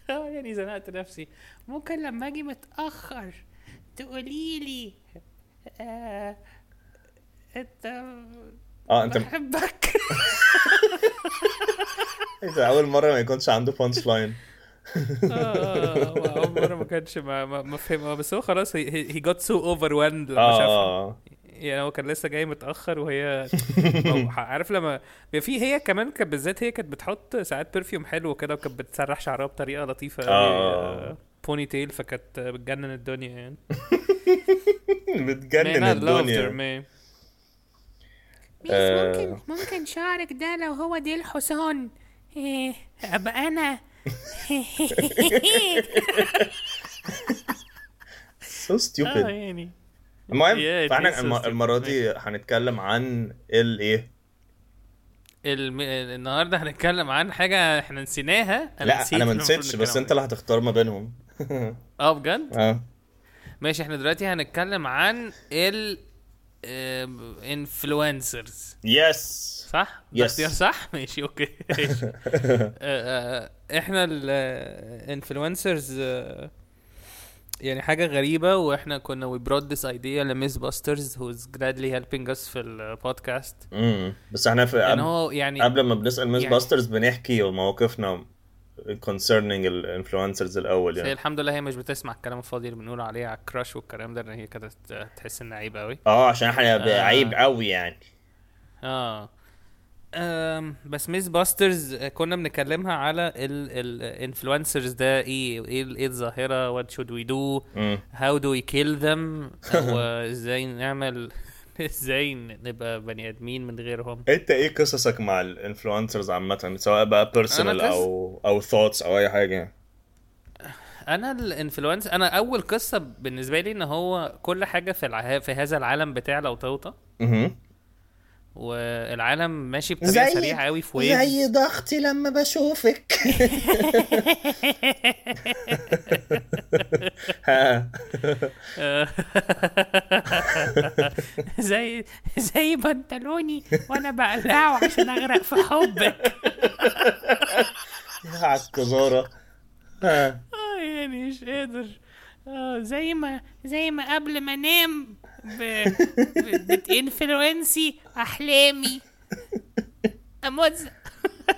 Speaker 1: اه يعني زنقت نفسي ممكن لما اجي متاخر تقولي لي آه انت
Speaker 2: اه انت
Speaker 1: بحبك
Speaker 2: انت اول مره ما يكونش عنده بانش لاين
Speaker 1: آه، اه عمره ما كانش ما ما ما فهمها بس هو خلاص هي جوت سو اوفر وند لما شافها
Speaker 2: اه
Speaker 1: يعني هو كان لسه جاي متاخر وهي هو عارف لما بيبقى في هي كمان كانت بالذات هي كانت بتحط ساعات برفيوم حلو كده وكانت بتسرح شعرها بطريقه لطيفه
Speaker 2: آه.
Speaker 1: قوي بوني تيل فكانت بتجنن الدنيا يعني
Speaker 2: بتجنن
Speaker 1: Man, I loved her,
Speaker 2: الدنيا
Speaker 1: man.
Speaker 3: ميس
Speaker 2: آه.
Speaker 3: ممكن ممكن شعرك ده لو هو ديل حصان إيه، ابقى انا
Speaker 2: سو
Speaker 1: اه
Speaker 2: ستيوبد
Speaker 1: يعني
Speaker 2: المهم
Speaker 1: Yeah, it is
Speaker 2: فاحنا
Speaker 1: so
Speaker 2: الم-
Speaker 1: stupid.
Speaker 2: المره دي هنتكلم عن إيه؟ الايه
Speaker 1: الم... النهارده هنتكلم عن حاجه احنا نسيناها
Speaker 2: لا
Speaker 1: نسيت
Speaker 2: انا
Speaker 1: إن
Speaker 2: ما
Speaker 1: المفروض
Speaker 2: نسيتش
Speaker 1: نتكلم
Speaker 2: بس انت اللي هتختار ما بينهم
Speaker 1: عنها. اه بجد
Speaker 2: اه
Speaker 1: ماشي احنا دلوقتي هنتكلم عن ال انفلونسرز
Speaker 2: يس
Speaker 1: صح؟
Speaker 2: Yes.
Speaker 1: ده اختيار صح؟ ماشي اوكي ماشي. آه، آه، احنا الانفلونسرز آه، يعني حاجة غريبة واحنا كنا وي brought this idea لميس باسترز who's gladly helping us في البودكاست
Speaker 2: بس احنا في
Speaker 1: ان
Speaker 2: قبل,
Speaker 1: هو يعني
Speaker 2: قبل ما بنسال ميس
Speaker 1: يعني-
Speaker 2: باسترز بنحكي مواقفنا concerning الانفلونسرز الاول
Speaker 1: هي
Speaker 2: يعني
Speaker 1: الحمد لله هي مش بتسمع الكلام الفاضي اللي بنقول عليه على الكراش والكلام ده ان هي كانت تحس انها عيب قوي
Speaker 2: اه عشان احنا
Speaker 1: آه.
Speaker 2: عيب قوي يعني
Speaker 1: اه أم بس ميس باسترز كنا بنكلمها على الانفلونسرز ده ايه ايه ال- ايه الظاهره وات شود وي دو
Speaker 2: مم.
Speaker 1: هاو دو وي كيل ذم وازاي نعمل ازاي نبقى بني ادمين من غيرهم
Speaker 2: انت ايه قصصك مع الانفلونسرز عامه سواء بقى بيرسونال
Speaker 1: قص-
Speaker 2: او او ثوتس او اي حاجه
Speaker 1: انا الانفلونس انا اول قصه بالنسبه لي ان هو كل حاجه في الع... في هذا العالم بتاع لوطوطه
Speaker 2: اها
Speaker 1: والعالم ماشي بطريقه سريعه قوي في ويفز
Speaker 4: زي ضغطي لما بشوفك
Speaker 2: ها.
Speaker 1: زي زي بنطلوني وانا بقلعه عشان اغرق في حبك
Speaker 2: يا عالكزارة ها.
Speaker 1: اه يعني مش قادر اه زي ما
Speaker 3: زي ما قبل ما انام ب- ب- بتانفلونسي احلامي اموز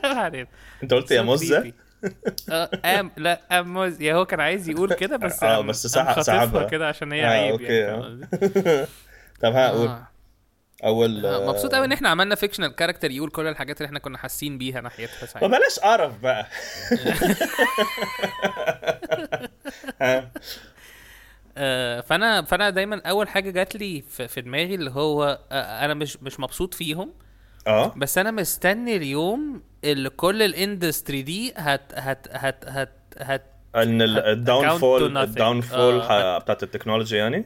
Speaker 1: بعدين
Speaker 2: انت قلت يا
Speaker 1: So
Speaker 2: مزة
Speaker 1: creepy. اه ام لا اموز يا هو كان عايز يقول كده بس
Speaker 2: اه
Speaker 1: قام-
Speaker 2: بس
Speaker 1: قام
Speaker 2: سحب-
Speaker 1: خاطفها
Speaker 2: سحبها.
Speaker 1: كده عشان هي
Speaker 2: اه،
Speaker 1: عيب
Speaker 2: اوكي،
Speaker 1: يعني
Speaker 2: اه.
Speaker 1: فاهم قصدي؟
Speaker 2: طب ها قول
Speaker 1: اه.
Speaker 2: اول
Speaker 1: اه، مبسوط قوي ان احنا عملنا فيكشنال كاركتر يقول كل الحاجات اللي احنا كنا حاسين بيها ناحيتها
Speaker 2: ما
Speaker 1: ساعتها
Speaker 2: آه، بلاش قرف بقى ها.
Speaker 1: آه، فانا فانا دايما اول حاجه جات لي في في دماغي اللي هو آه، انا مش مش مبسوط فيهم
Speaker 2: اه
Speaker 1: بس انا مستني اليوم اللي كل الاندستري دي هت هت هت هت هت
Speaker 2: ان الداون فول
Speaker 1: account to nothing.
Speaker 2: الداون فول
Speaker 1: اه.
Speaker 2: بتاعت التكنولوجي يعني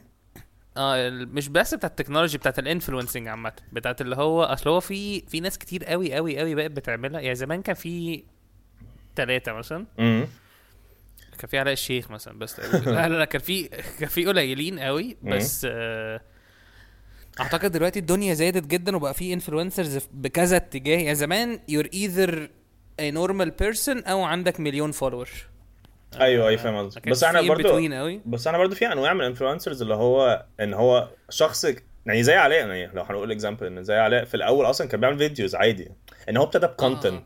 Speaker 1: اه ال- مش بس بتاعت التكنولوجي بتاعت الانفلونسنج عامه بتاعت اللي هو اصل هو في في ناس كتير قوي قوي قوي بقت بتعملها يعني زمان كان في ثلاثة مثلا
Speaker 2: امم
Speaker 1: كان في علاء الشيخ مثلا بس لا لا لا كان في كان في قليلين قوي بس آه اعتقد دلوقتي الدنيا زادت جدا وبقى في انفلونسرز بكذا اتجاه يعني زمان يور ايذر اي نورمال بيرسون او عندك مليون فولور
Speaker 2: ايوه اي فاهم قصدك بس احنا برضو
Speaker 1: قوي
Speaker 2: بس انا برضو في انواع من الانفلونسرز اللي هو ان هو شخص يعني زي علاء يعني لو هنقول اكزامبل ان زي علاء في الاول اصلا كان بيعمل فيديوز عادي ان هو ابتدى بكونتنت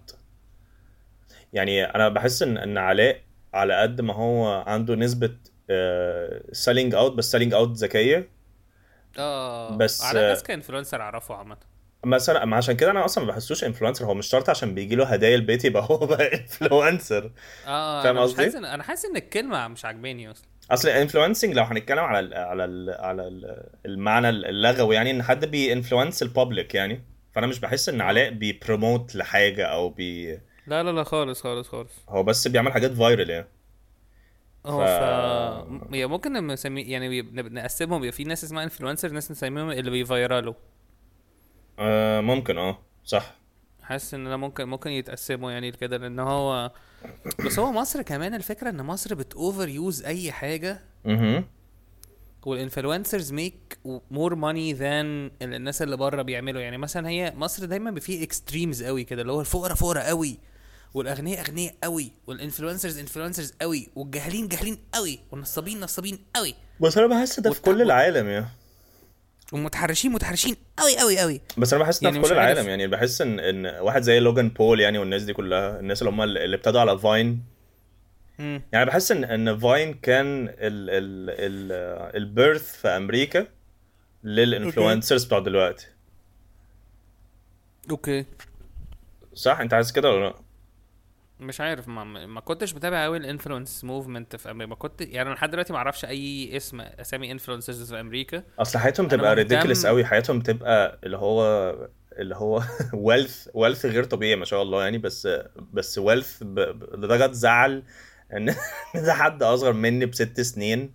Speaker 2: يعني انا بحس ان ان علاء على قد ما هو عنده نسبه سيلينج اوت بس سيلينج اوت ذكيه
Speaker 1: اه
Speaker 2: بس- آه،
Speaker 1: على ناس كانفلونسر اعرفه عامه
Speaker 2: مثلا ما عشان كده انا اصلا ما بحسوش انفلونسر هو مش شرط عشان بيجي له هدايا البيت يبقى هو بقى انفلونسر
Speaker 1: اه
Speaker 2: فاهم
Speaker 1: أنا مش
Speaker 2: قصدي؟
Speaker 1: حاسس إن- انا حاسس ان الكلمه مش عاجباني اصلا
Speaker 2: اصل انفلونسنج لو هنتكلم على ال على ال على ال المعنى اللغوي يعني ان حد بينفلونس البابليك يعني فانا مش بحس ان علاء بيبروموت لحاجه او بي
Speaker 1: لا لا لا خالص خالص خالص
Speaker 2: هو بس بيعمل حاجات فايرال يعني
Speaker 1: هو
Speaker 2: ف-
Speaker 1: ف... م- يعني ممكن لما نسمي يعني بي- نب- نقسمهم يبقى في ناس اسمها انفلونسر ناس نسميهم اللي بيفيرالوا
Speaker 2: آه ممكن اه صح
Speaker 1: حاسس ان انا ممكن ممكن يتقسموا يعني كده لان هو بس هو مصر كمان الفكره ان مصر بتوفر يوز اي حاجه
Speaker 2: اها
Speaker 1: والانفلونسرز ميك مور ماني ذان الناس اللي بره بيعملوا يعني مثلا هي مصر دايما في اكستريمز قوي كده اللي هو الفقراء فقراء قوي والاغنياء اغنياء قوي والانفلونسرز انفلونسرز قوي والجاهلين جاهلين قوي والنصابين نصابين قوي
Speaker 2: بس انا بحس ده في كل العالم يعني
Speaker 1: والمتحرشين متحرشين قوي قوي قوي
Speaker 2: بس انا بحس ده
Speaker 1: يعني
Speaker 2: في
Speaker 1: مش
Speaker 2: كل
Speaker 1: عارف.
Speaker 2: العالم يعني بحس ان ان واحد زي لوجان بول يعني والناس دي كلها الناس اللي هم اللي ابتدوا على فاين
Speaker 1: مم.
Speaker 2: يعني بحس ان ان فاين كان ال ال ال البيرث في امريكا للانفلونسرز بتوع دلوقتي
Speaker 1: اوكي
Speaker 2: صح انت عايز كده ولا لا؟
Speaker 1: مش عارف ما, ما كنتش متابع قوي الانفلونس موفمنت في امريكا ما كنت يعني انا لحد دلوقتي ما اعرفش اي اسم اسامي انفلونسرز في امريكا
Speaker 2: اصل حياتهم تبقى
Speaker 1: مهتم-
Speaker 2: ريديكلس قوي حياتهم تبقى اللي هو اللي هو ويلث ويلث غير طبيعي ما شاء الله يعني بس بس ويلث لدرجه زعل ان إن ده حد اصغر مني بست سنين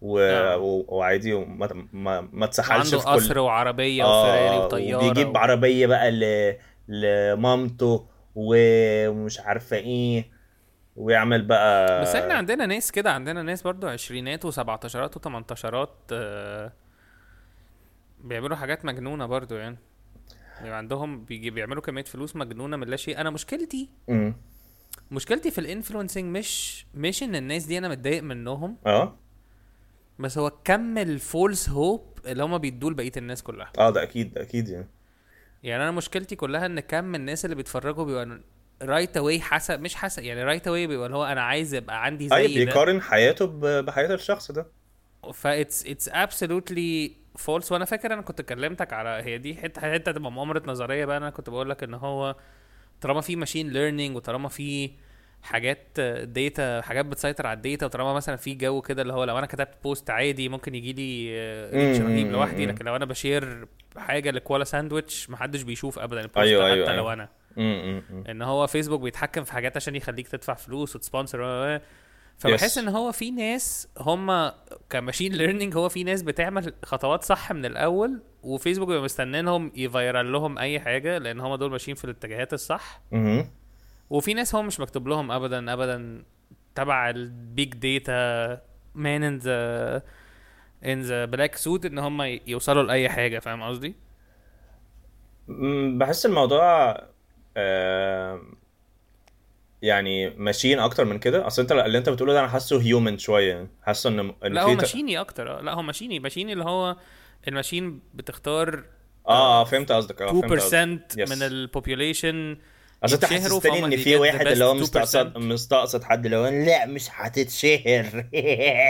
Speaker 2: و...
Speaker 1: آه.
Speaker 2: و... وعادي وما ما, ما اتسحلش
Speaker 1: عنده
Speaker 2: في كل
Speaker 1: قصر وعربيه وفراري
Speaker 2: آه،
Speaker 1: وطياره
Speaker 2: وبيجيب
Speaker 1: و-
Speaker 2: عربيه بقى ل... لمامته و- ومش عارفه ايه ويعمل بقى
Speaker 1: بس احنا عندنا ناس كده عندنا ناس برضو عشرينات وسبعتاشرات وتمنتاشرات آه، بيعملوا حاجات مجنونة برضو يعني بيبقى عندهم بيجي بيعملوا كمية فلوس مجنونة من لا شيء انا مشكلتي
Speaker 2: مم.
Speaker 1: مشكلتي في الانفلونسنج مش مش ان الناس دي انا متضايق منهم
Speaker 2: اه
Speaker 1: بس هو كم الفولس هوب اللي هما بيدوه لبقية الناس كلها
Speaker 2: اه ده اكيد ده اكيد يعني
Speaker 1: يعني انا مشكلتي كلها ان كم الناس اللي بيتفرجوا بيبقى رايت اواي حسب مش حسب يعني رايت اواي بيبقى اللي هو انا عايز ابقى عندي
Speaker 2: اي
Speaker 1: زي ده
Speaker 2: بيقارن طيب، حياته ب- بحياه الشخص ده
Speaker 1: فاتس اتس ابسولوتلي فولس وانا فاكر انا كنت كلمتك على هي دي حته حته تبقى مؤامره نظريه بقى انا كنت بقول لك ان هو طالما في ماشين ليرنينج وطالما في حاجات داتا حاجات بتسيطر على الداتا وطالما مثلا في جو كده اللي هو لو انا كتبت بوست عادي ممكن يجي لي ريتش
Speaker 2: مم،
Speaker 1: رهيب
Speaker 2: مم،
Speaker 1: لوحدي
Speaker 2: مم.
Speaker 1: لكن لو انا بشير حاجه لكوالا ساندويتش محدش بيشوف ابدا البوست
Speaker 2: أيوة،
Speaker 1: حتى
Speaker 2: أيوة،
Speaker 1: لو
Speaker 2: أيوة.
Speaker 1: انا
Speaker 2: امم
Speaker 1: ان هو فيسبوك بيتحكم في حاجات عشان يخليك تدفع فلوس وتسبونسر و- و-
Speaker 2: Yes.
Speaker 1: فبحس ان هو في ناس هم كماشين ليرنينج هو في ناس بتعمل خطوات صح من الاول وفيسبوك بيبقى مستنينهم يفيرال لهم اي حاجه لان هم دول ماشيين في الاتجاهات الصح
Speaker 2: امم
Speaker 1: وفي ناس هم مش مكتوب لهم ابدا ابدا تبع البيج داتا مان ان ذا ان ذا بلاك سوت ان هم يوصلوا لاي حاجه فاهم قصدي؟
Speaker 2: مم، بحس الموضوع آم، يعني ماشيين اكتر من كده اصل انت اللي انت بتقوله ده انا حاسه هيومن شويه يعني حاسه ان إن
Speaker 1: لا هو
Speaker 2: ت-
Speaker 1: ماشيني اكتر آه. لا هو ماشيني ماشيني اللي هو الماشين بتختار
Speaker 2: اه اه فهمت قصدك اه
Speaker 1: 2%
Speaker 2: فهمت قصدك. Yes.
Speaker 1: من البوبيوليشن
Speaker 2: اصل انت
Speaker 1: يتشهروا
Speaker 2: حسستني
Speaker 1: فهم
Speaker 2: ان
Speaker 1: they
Speaker 2: في
Speaker 1: get the
Speaker 2: واحد اللي هو
Speaker 1: best 2%.
Speaker 2: مستقصد مستقصد حد اللي هو لا مش هتتشهر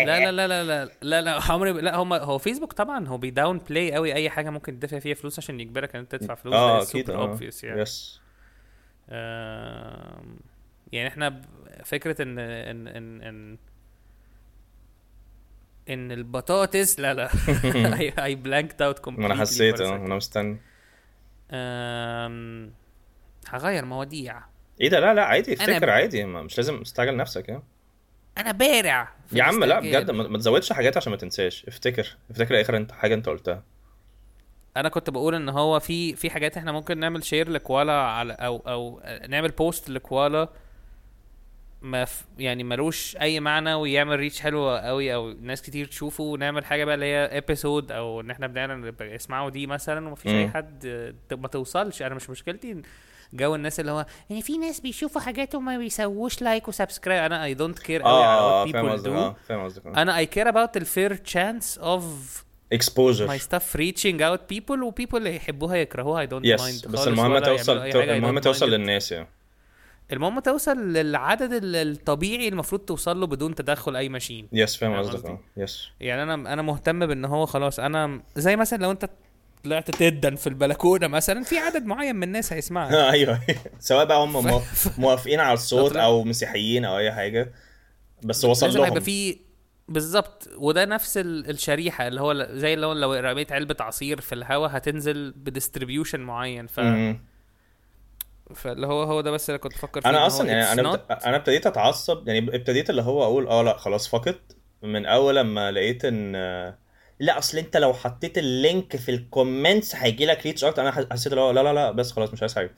Speaker 1: لا لا لا لا لا لا لا عمري ب- لا هم هو فيسبوك طبعا هو بيداون بلاي قوي اي حاجه ممكن تدفع فيها فلوس عشان يجبرك ان انت تدفع فلوس
Speaker 2: اه
Speaker 1: ده
Speaker 2: اكيد
Speaker 1: super
Speaker 2: اه
Speaker 1: obvious يعني
Speaker 2: يس
Speaker 1: آم، يعني احنا ب- فكره ان ان ان ان ان البطاطس لا لا اي بلانكت اوت
Speaker 2: ما انا حسيت اه انا مستني
Speaker 1: أم... هغير مواضيع
Speaker 2: ايه ده لا لا عادي
Speaker 1: أنا-
Speaker 2: افتكر عادي ما- مش لازم تستعجل نفسك يعني
Speaker 1: انا بارع في
Speaker 2: يا عم لا
Speaker 1: الاستعجاب.
Speaker 2: بجد ما ما تزودش حاجات عشان ما تنساش افتكر افتكر اخر انت حاجه انت قلتها
Speaker 1: انا كنت بقول ان هو في في حاجات احنا ممكن نعمل شير لكوالا على او او نعمل بوست لكوالا ما ف يعني ملوش اي معنى ويعمل ريتش حلو قوي او ناس كتير تشوفه ونعمل حاجه بقى اللي هي ابيسود او ان احنا بنعمل اسمعوا دي مثلا ومفيش
Speaker 2: مم.
Speaker 1: اي حد ت- ما توصلش انا مش مشكلتي جو الناس اللي هو إيه،
Speaker 3: يعني في ناس بيشوفوا حاجات وما بيسووش
Speaker 1: وش لايك وسبسكرايب انا اي دونت كير قوي على
Speaker 2: اه
Speaker 1: وات
Speaker 2: فاهم
Speaker 1: بيبل
Speaker 2: قصدك
Speaker 1: دو
Speaker 2: اه فاهم قصدك آه.
Speaker 1: انا اي كير اباوت الفير تشانس اوف my
Speaker 2: اكسبوجر
Speaker 1: stuff reaching out people وبيبل اللي يحبوها يكرهوها I don't
Speaker 2: يس
Speaker 1: mind
Speaker 2: بس
Speaker 1: خالص
Speaker 2: المهمة
Speaker 1: ولا
Speaker 2: توصل
Speaker 1: يعملوا أي
Speaker 2: تو-
Speaker 1: حاجة، I
Speaker 2: المهمة
Speaker 1: don't
Speaker 2: توصل
Speaker 1: mind it.
Speaker 2: للناس يعني
Speaker 1: المهم توصل للعدد ال- الطبيعي المفروض توصل له بدون تدخل اي ماشين
Speaker 2: يس فاهم
Speaker 1: فاهم
Speaker 2: قصدك
Speaker 1: قصدي؟
Speaker 2: اه يس
Speaker 1: يعني انا انا مهتم بان هو خلاص انا زي مثلا لو انت طلعت تدا في البلكونه مثلا في عدد معين من الناس هيسمعك
Speaker 2: آه، ايوه سواء بقى هم مو- موافقين على الصوت
Speaker 1: فطلع-
Speaker 2: او مسيحيين او اي حاجه بس وصل
Speaker 1: لازم
Speaker 2: لهم
Speaker 1: هيبقى في بالظبط وده نفس ال- الشريحه اللي هو ل- زي اللي هو لو رميت علبه عصير في الهواء هتنزل بديستريبيوشن معين ف...
Speaker 2: مم.
Speaker 1: فاللي هو هو ده بس اللي كنت بفكر فيه إن
Speaker 2: انا
Speaker 1: هو
Speaker 2: اصلا يعني
Speaker 1: it's
Speaker 2: انا
Speaker 1: not-
Speaker 2: بت... انا ابتديت اتعصب يعني ابتديت اللي هو اقول اه لا خلاص فقط من اول لما لقيت ان لا اصل انت لو حطيت اللينك في الكومنتس هيجي لك ريتش اكتر انا ح- حسيت اللي هو لا لا لا بس خلاص مش عايز حاجه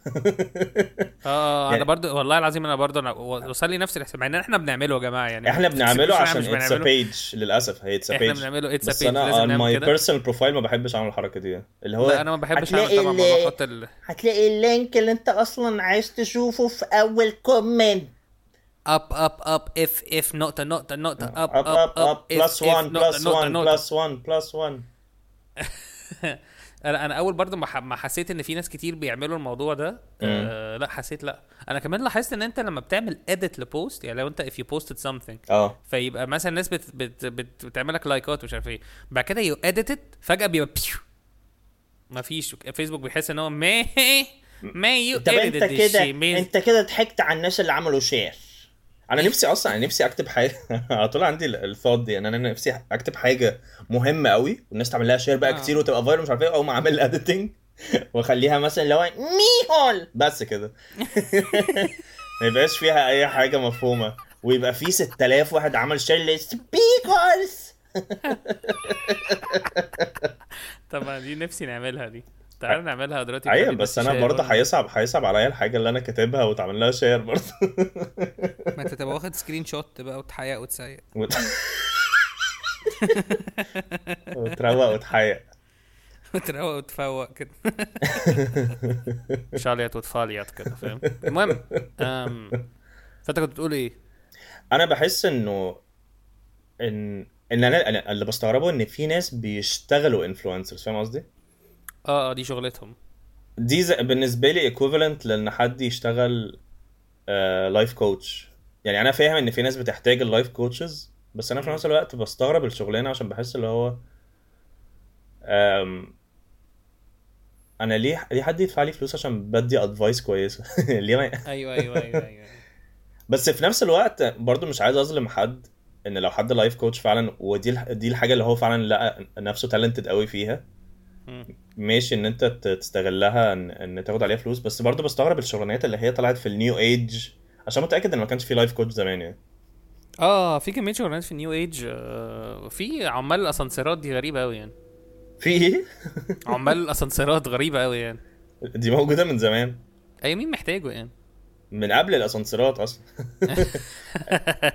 Speaker 1: اه
Speaker 2: يعني-
Speaker 1: انا برضو والله العظيم انا برضو انا وصل لي نفس الاحساس مع ان احنا بنعمله يا جماعه يعني
Speaker 2: احنا
Speaker 1: مش-
Speaker 2: بنعمله
Speaker 1: مش-
Speaker 2: عشان
Speaker 1: مش
Speaker 2: اتس
Speaker 1: بنعمله.
Speaker 2: بيج للاسف هي اتس
Speaker 1: احنا
Speaker 2: بيج
Speaker 1: بنعمله اتس
Speaker 2: بس
Speaker 1: بيج
Speaker 2: انا
Speaker 1: لازم
Speaker 2: on
Speaker 1: نعمل
Speaker 2: my
Speaker 1: كده
Speaker 2: personal profile ما بحبش اعمل الحركه دي اللي هو
Speaker 1: لا انا ما بحبش اعمل
Speaker 4: هتلاقي
Speaker 1: طبعا ما
Speaker 4: ال-
Speaker 1: بحط ال...
Speaker 4: هتلاقي اللينك اللي انت اصلا عايز تشوفه في اول كومنت
Speaker 1: up up up if if نقطة نقطة نقطة up
Speaker 2: آه، up up up
Speaker 1: if
Speaker 2: plus
Speaker 1: if
Speaker 2: one
Speaker 1: نقطة
Speaker 2: plus
Speaker 1: نقطة
Speaker 2: one
Speaker 1: نقطة.
Speaker 2: plus one plus one
Speaker 1: انا انا اول برضه ما ح- ما حسيت ان في ناس كتير بيعملوا الموضوع ده آه لا حسيت لا انا كمان لاحظت ان انت لما بتعمل edit لبوست يعني لو انت if you posted something
Speaker 2: اه
Speaker 1: فيبقى مثلا الناس بت بت بت بتعمل لك لايكات ومش عارف ايه بعد كده يو اديتد فجأة بيبقى بيو ما فيش فيسبوك بيحس ان هو ما ما يو
Speaker 2: طب
Speaker 1: edited
Speaker 2: انت
Speaker 1: this
Speaker 2: كده-
Speaker 1: shit. ما-
Speaker 4: انت كده ضحكت على الناس اللي عملوا شير
Speaker 2: انا نفسي اصلا انا نفسي اكتب حاجه على طول عندي الفاض دي يعني انا نفسي اكتب حاجه مهمه قوي والناس تعمل لها شير بقى
Speaker 1: آه.
Speaker 2: كتير وتبقى فايرال مش عارف ايه اقوم اعمل اديتنج واخليها مثلا لو
Speaker 4: ميهول
Speaker 2: إيه، بس كده ما يبقاش فيها اي حاجه مفهومه ويبقى في 6000 واحد عمل شير ليست
Speaker 4: بيكورس
Speaker 1: طبعا دي نفسي نعملها دي تعال نعملها دلوقتي
Speaker 2: ايوه
Speaker 1: خلي
Speaker 2: بس انا
Speaker 1: شير
Speaker 2: برضه
Speaker 1: قول-
Speaker 2: هيصعب هيصعب عليا الحاجه اللي انا كاتبها وتعمل لها شير برضه
Speaker 1: ما انت تبقى واخد سكرين شوت بقى وتحيق وتسيق
Speaker 2: وت- وتروق وتحيق
Speaker 1: وتروق وتفوق كده شاليت وتفاليت كده فاهم المهم أم، فانت كنت بتقول ايه؟
Speaker 2: انا بحس انه ان ان انا أنا اللي بستغربه ان في ناس بيشتغلوا انفلونسرز فاهم قصدي؟
Speaker 1: اه اه دي شغلتهم
Speaker 2: دي ز- بالنسبه لي ايكوفالنت لان حد يشتغل لايف كوتش يعني انا فاهم ان في ناس بتحتاج اللايف كوتشز بس انا في نفس الوقت بستغرب الشغلانه عشان بحس اللي هو أم انا ليه ليه حد يدفع لي فلوس عشان بدي ادفايس كويسه ليه ما
Speaker 1: ايوه ايوه ايوه ايوه
Speaker 2: بس في نفس الوقت برضو مش عايز اظلم حد ان لو حد لايف كوتش فعلا ودي الح- دي الحاجه اللي هو فعلا لقى نفسه تالنتد قوي فيها
Speaker 1: مم.
Speaker 2: ماشي ان انت ت- تستغلها ان, إن تاخد عليها فلوس بس برضو بستغرب الشغلانات اللي هي طلعت في النيو ايج عشان متاكد ان ما كانش في لايف كوتش زمان يعني
Speaker 1: اه في كميه شغلانات في النيو ايج آه، في عمال الاسانسيرات دي غريبه قوي يعني
Speaker 2: في ايه
Speaker 1: عمال الاسانسيرات غريبه قوي يعني
Speaker 2: دي موجوده من زمان
Speaker 1: اي مين محتاجه يعني
Speaker 2: من قبل الاسانسيرات اصلا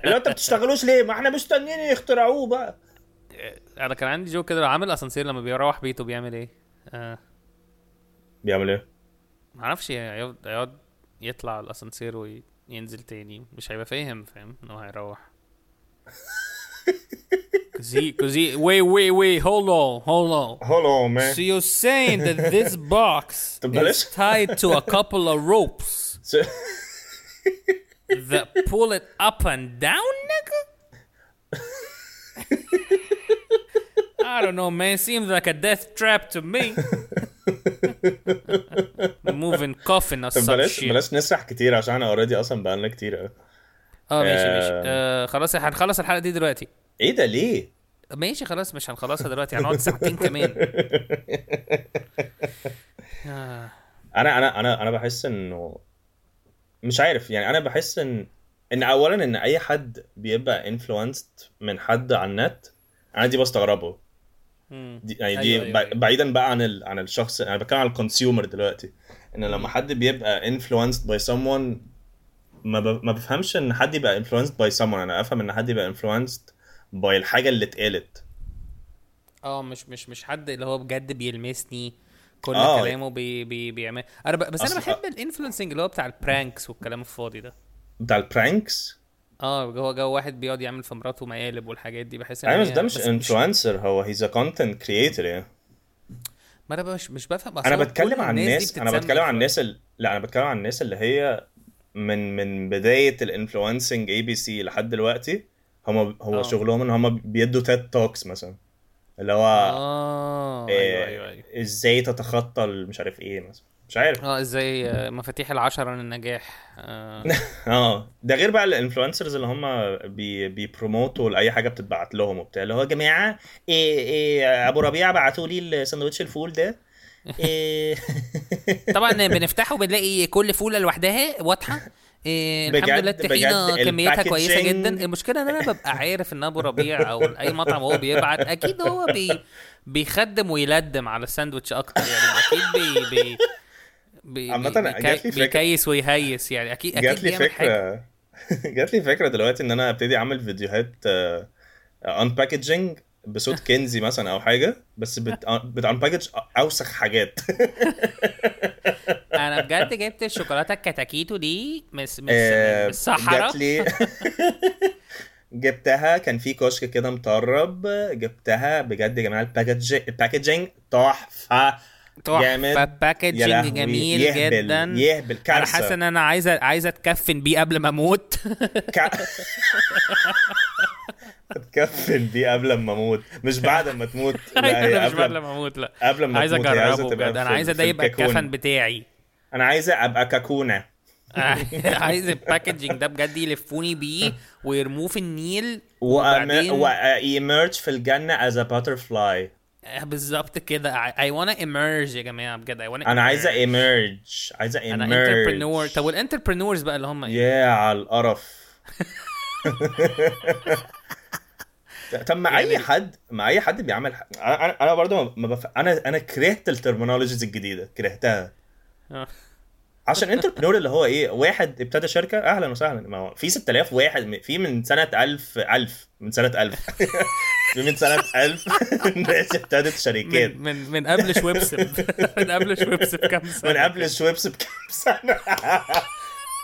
Speaker 2: لو انت بتشتغلوش ليه ما احنا مستنيين يخترعوه بقى
Speaker 1: آه، انا كان عندي جو كده لو عامل اسانسير لما بيروح بيته بيعمل ايه؟ آه
Speaker 2: بيعمل ايه
Speaker 1: معرفش يعني، هيقعد هيقعد يطلع الاسانسير وينزل تاني مش هيبقى فاهم فاهم ان هو هيروح كوزي كوزي وي وي وي هولد اون هولد اون
Speaker 2: هولو مان
Speaker 1: So you're saying that this box
Speaker 2: طب بلاش.
Speaker 1: is tied to a couple of ropes that pull it up and down, nigga? I don't know, man. Seems like a death trap to me. Moving coffin or
Speaker 2: طب
Speaker 1: some
Speaker 2: بلاش
Speaker 1: shit.
Speaker 2: بلاش نسرح كتير عشان انا اوريدي اصلا بقالنا كتير قوي
Speaker 1: اه ماشي
Speaker 2: آه.
Speaker 1: ماشي آه خلاص هنخلص الحلقه دي دلوقتي
Speaker 2: ايه ده ليه؟
Speaker 1: ماشي خلاص مش هنخلصها دلوقتي هنقعد ساعتين كمان آه.
Speaker 2: انا انا انا انا بحس انه مش عارف يعني انا بحس ان ان اولا ان اي حد بيبقى انفلونسد من حد على النت انا دي بستغربه
Speaker 1: مم.
Speaker 2: دي يعني دي
Speaker 1: أيوة،
Speaker 2: أيوة
Speaker 1: أيوة، أيوة.
Speaker 2: بعيدا بقى عن ال... عن الشخص انا بتكلم عن الكونسيومر دلوقتي ان لما حد بيبقى انفلونسد باي someone ما ب... ما بفهمش ان حد يبقى انفلونسد باي someone انا افهم ان حد يبقى انفلونسد باي الحاجه اللي اتقالت
Speaker 1: اه مش مش مش حد اللي هو بجد بيلمسني كل
Speaker 2: آه.
Speaker 1: آه. كلامه بي بي بيعمل انا ب... بس
Speaker 2: أصل- آه.
Speaker 1: انا بحب الانفلونسنج اللي هو بتاع البرانكس والكلام الفاضي ده
Speaker 2: بتاع البرانكس
Speaker 1: اه جو جو واحد بيقعد يعمل في مراته مقالب والحاجات دي بحس إن
Speaker 2: ايوه بس
Speaker 1: هي-
Speaker 2: ده مش
Speaker 1: بس
Speaker 2: انفلونسر هو هيز ا كونتنت كريتور يعني
Speaker 1: ما انا مش مش بفهم أصل
Speaker 2: انا
Speaker 1: هو كل
Speaker 2: بتكلم عن
Speaker 1: دي
Speaker 2: الناس انا
Speaker 1: بتتسمى
Speaker 2: بتكلم عن
Speaker 1: influencer.
Speaker 2: الناس ال... لا انا بتكلم عن الناس اللي هي من من بدايه الانفلونسنج اي بي سي لحد دلوقتي هم هو
Speaker 1: آه.
Speaker 2: شغلهم ان هم بيدوا تيد توكس مثلا اللي هو
Speaker 1: اه ايوه ايوه ايوه
Speaker 2: إيه، ازاي تتخطى ال- مش عارف ايه مثلا مش عارف
Speaker 1: اه ازاي آه، مفاتيح العشرة للنجاح آه
Speaker 2: اه ده غير بقى الانفلونسرز اللي هم بي بيبروموتوا لاي حاجه بتتبعت لهم وبتاع اللي هو يا جماعه إيه إيه ابو ربيع بعتوا لي الساندوتش الفول ده إيه
Speaker 1: طبعا بنفتحه بنلاقي كل فوله لوحدها واضحه إيه الحمد
Speaker 2: بجد-
Speaker 1: لله الطحينه
Speaker 2: بجد
Speaker 1: كميتها
Speaker 2: الباكجينج-
Speaker 1: كويسه جدا المشكله ان انا ببقى عارف ان ابو ربيع او اي مطعم هو بيبعت اكيد هو بي بيخدم ويلدم على الساندوتش اكتر يعني اكيد بي بي بي
Speaker 2: عامة
Speaker 1: بي-
Speaker 2: أنا جات لي فكرة-
Speaker 1: بيكيس ويهيس يعني اكيد اكيد
Speaker 2: جات لي
Speaker 1: بيعمل حاجة.
Speaker 2: فكره جات لي فكره دلوقتي ان انا ابتدي اعمل فيديوهات ان باكجنج بصوت كنزي مثلا او حاجه بس بت باكج اوسخ حاجات
Speaker 1: انا بجد جبت الشوكولاته الكتاكيتو دي من من- من
Speaker 2: آه،
Speaker 1: الصحراء
Speaker 2: جات لي جبتها كان في كشك كده مطرب جبتها بجد يا جماعه الباكج الباكجنج تحفه
Speaker 1: تحفه
Speaker 2: جامد. يا لهوي،
Speaker 1: باكجنج جميل
Speaker 2: يهبل
Speaker 1: جدا
Speaker 2: يهبل
Speaker 1: انا حاسس
Speaker 2: كارثه
Speaker 1: ان انا عايزه عايزه اتكفن بيه قبل ما اموت
Speaker 2: كا- اتكفن دي قبل ما اموت مش بعد ما تموت لا هي
Speaker 1: انا مش
Speaker 2: قبل
Speaker 1: بعد لما اموت لا
Speaker 2: قبل أيوة، ما
Speaker 1: عايز
Speaker 2: تموت، هي عايزة
Speaker 1: اجربه
Speaker 2: تبقى
Speaker 1: بجد انا
Speaker 2: في-
Speaker 1: عايزه
Speaker 2: في
Speaker 1: ده يبقى
Speaker 2: الكاكون.
Speaker 1: الكفن بتاعي
Speaker 2: انا عايزه ابقى كاكونه
Speaker 1: عايز الباكجينج ده بجد يلفوني بيه ويرموه في النيل وبعدين-
Speaker 2: وايمرج آه، في الجنه از ا فلاي
Speaker 1: آه، بالظبط كده I wanna emerge يا جماعه بجد I wanna
Speaker 2: انا عايزه
Speaker 1: emerge.
Speaker 2: ايمرج عايزه ايمرج
Speaker 1: انا انتربرنور طب والانتربرنورز بقى اللي هم ايه
Speaker 2: يا على القرف طب مع اي
Speaker 1: يعني
Speaker 2: حد مع اي حد بيعمل ح... انا أنا- انا برضه ما بف... انا انا كرهت الترمينولوجيز الجديده كرهتها
Speaker 1: آه.
Speaker 2: عشان انتربرنور اللي هو ايه واحد ابتدى شركه اهلا وسهلا ما هو في 6000 واحد م- في من سنه 1000 1000 من سنه 1000 في من سنه 1000 ناس ابتدت شركات
Speaker 1: من من من قبل شويبسب من قبل شويبسب بكام سنه
Speaker 2: من قبل الشويبس بكام سنه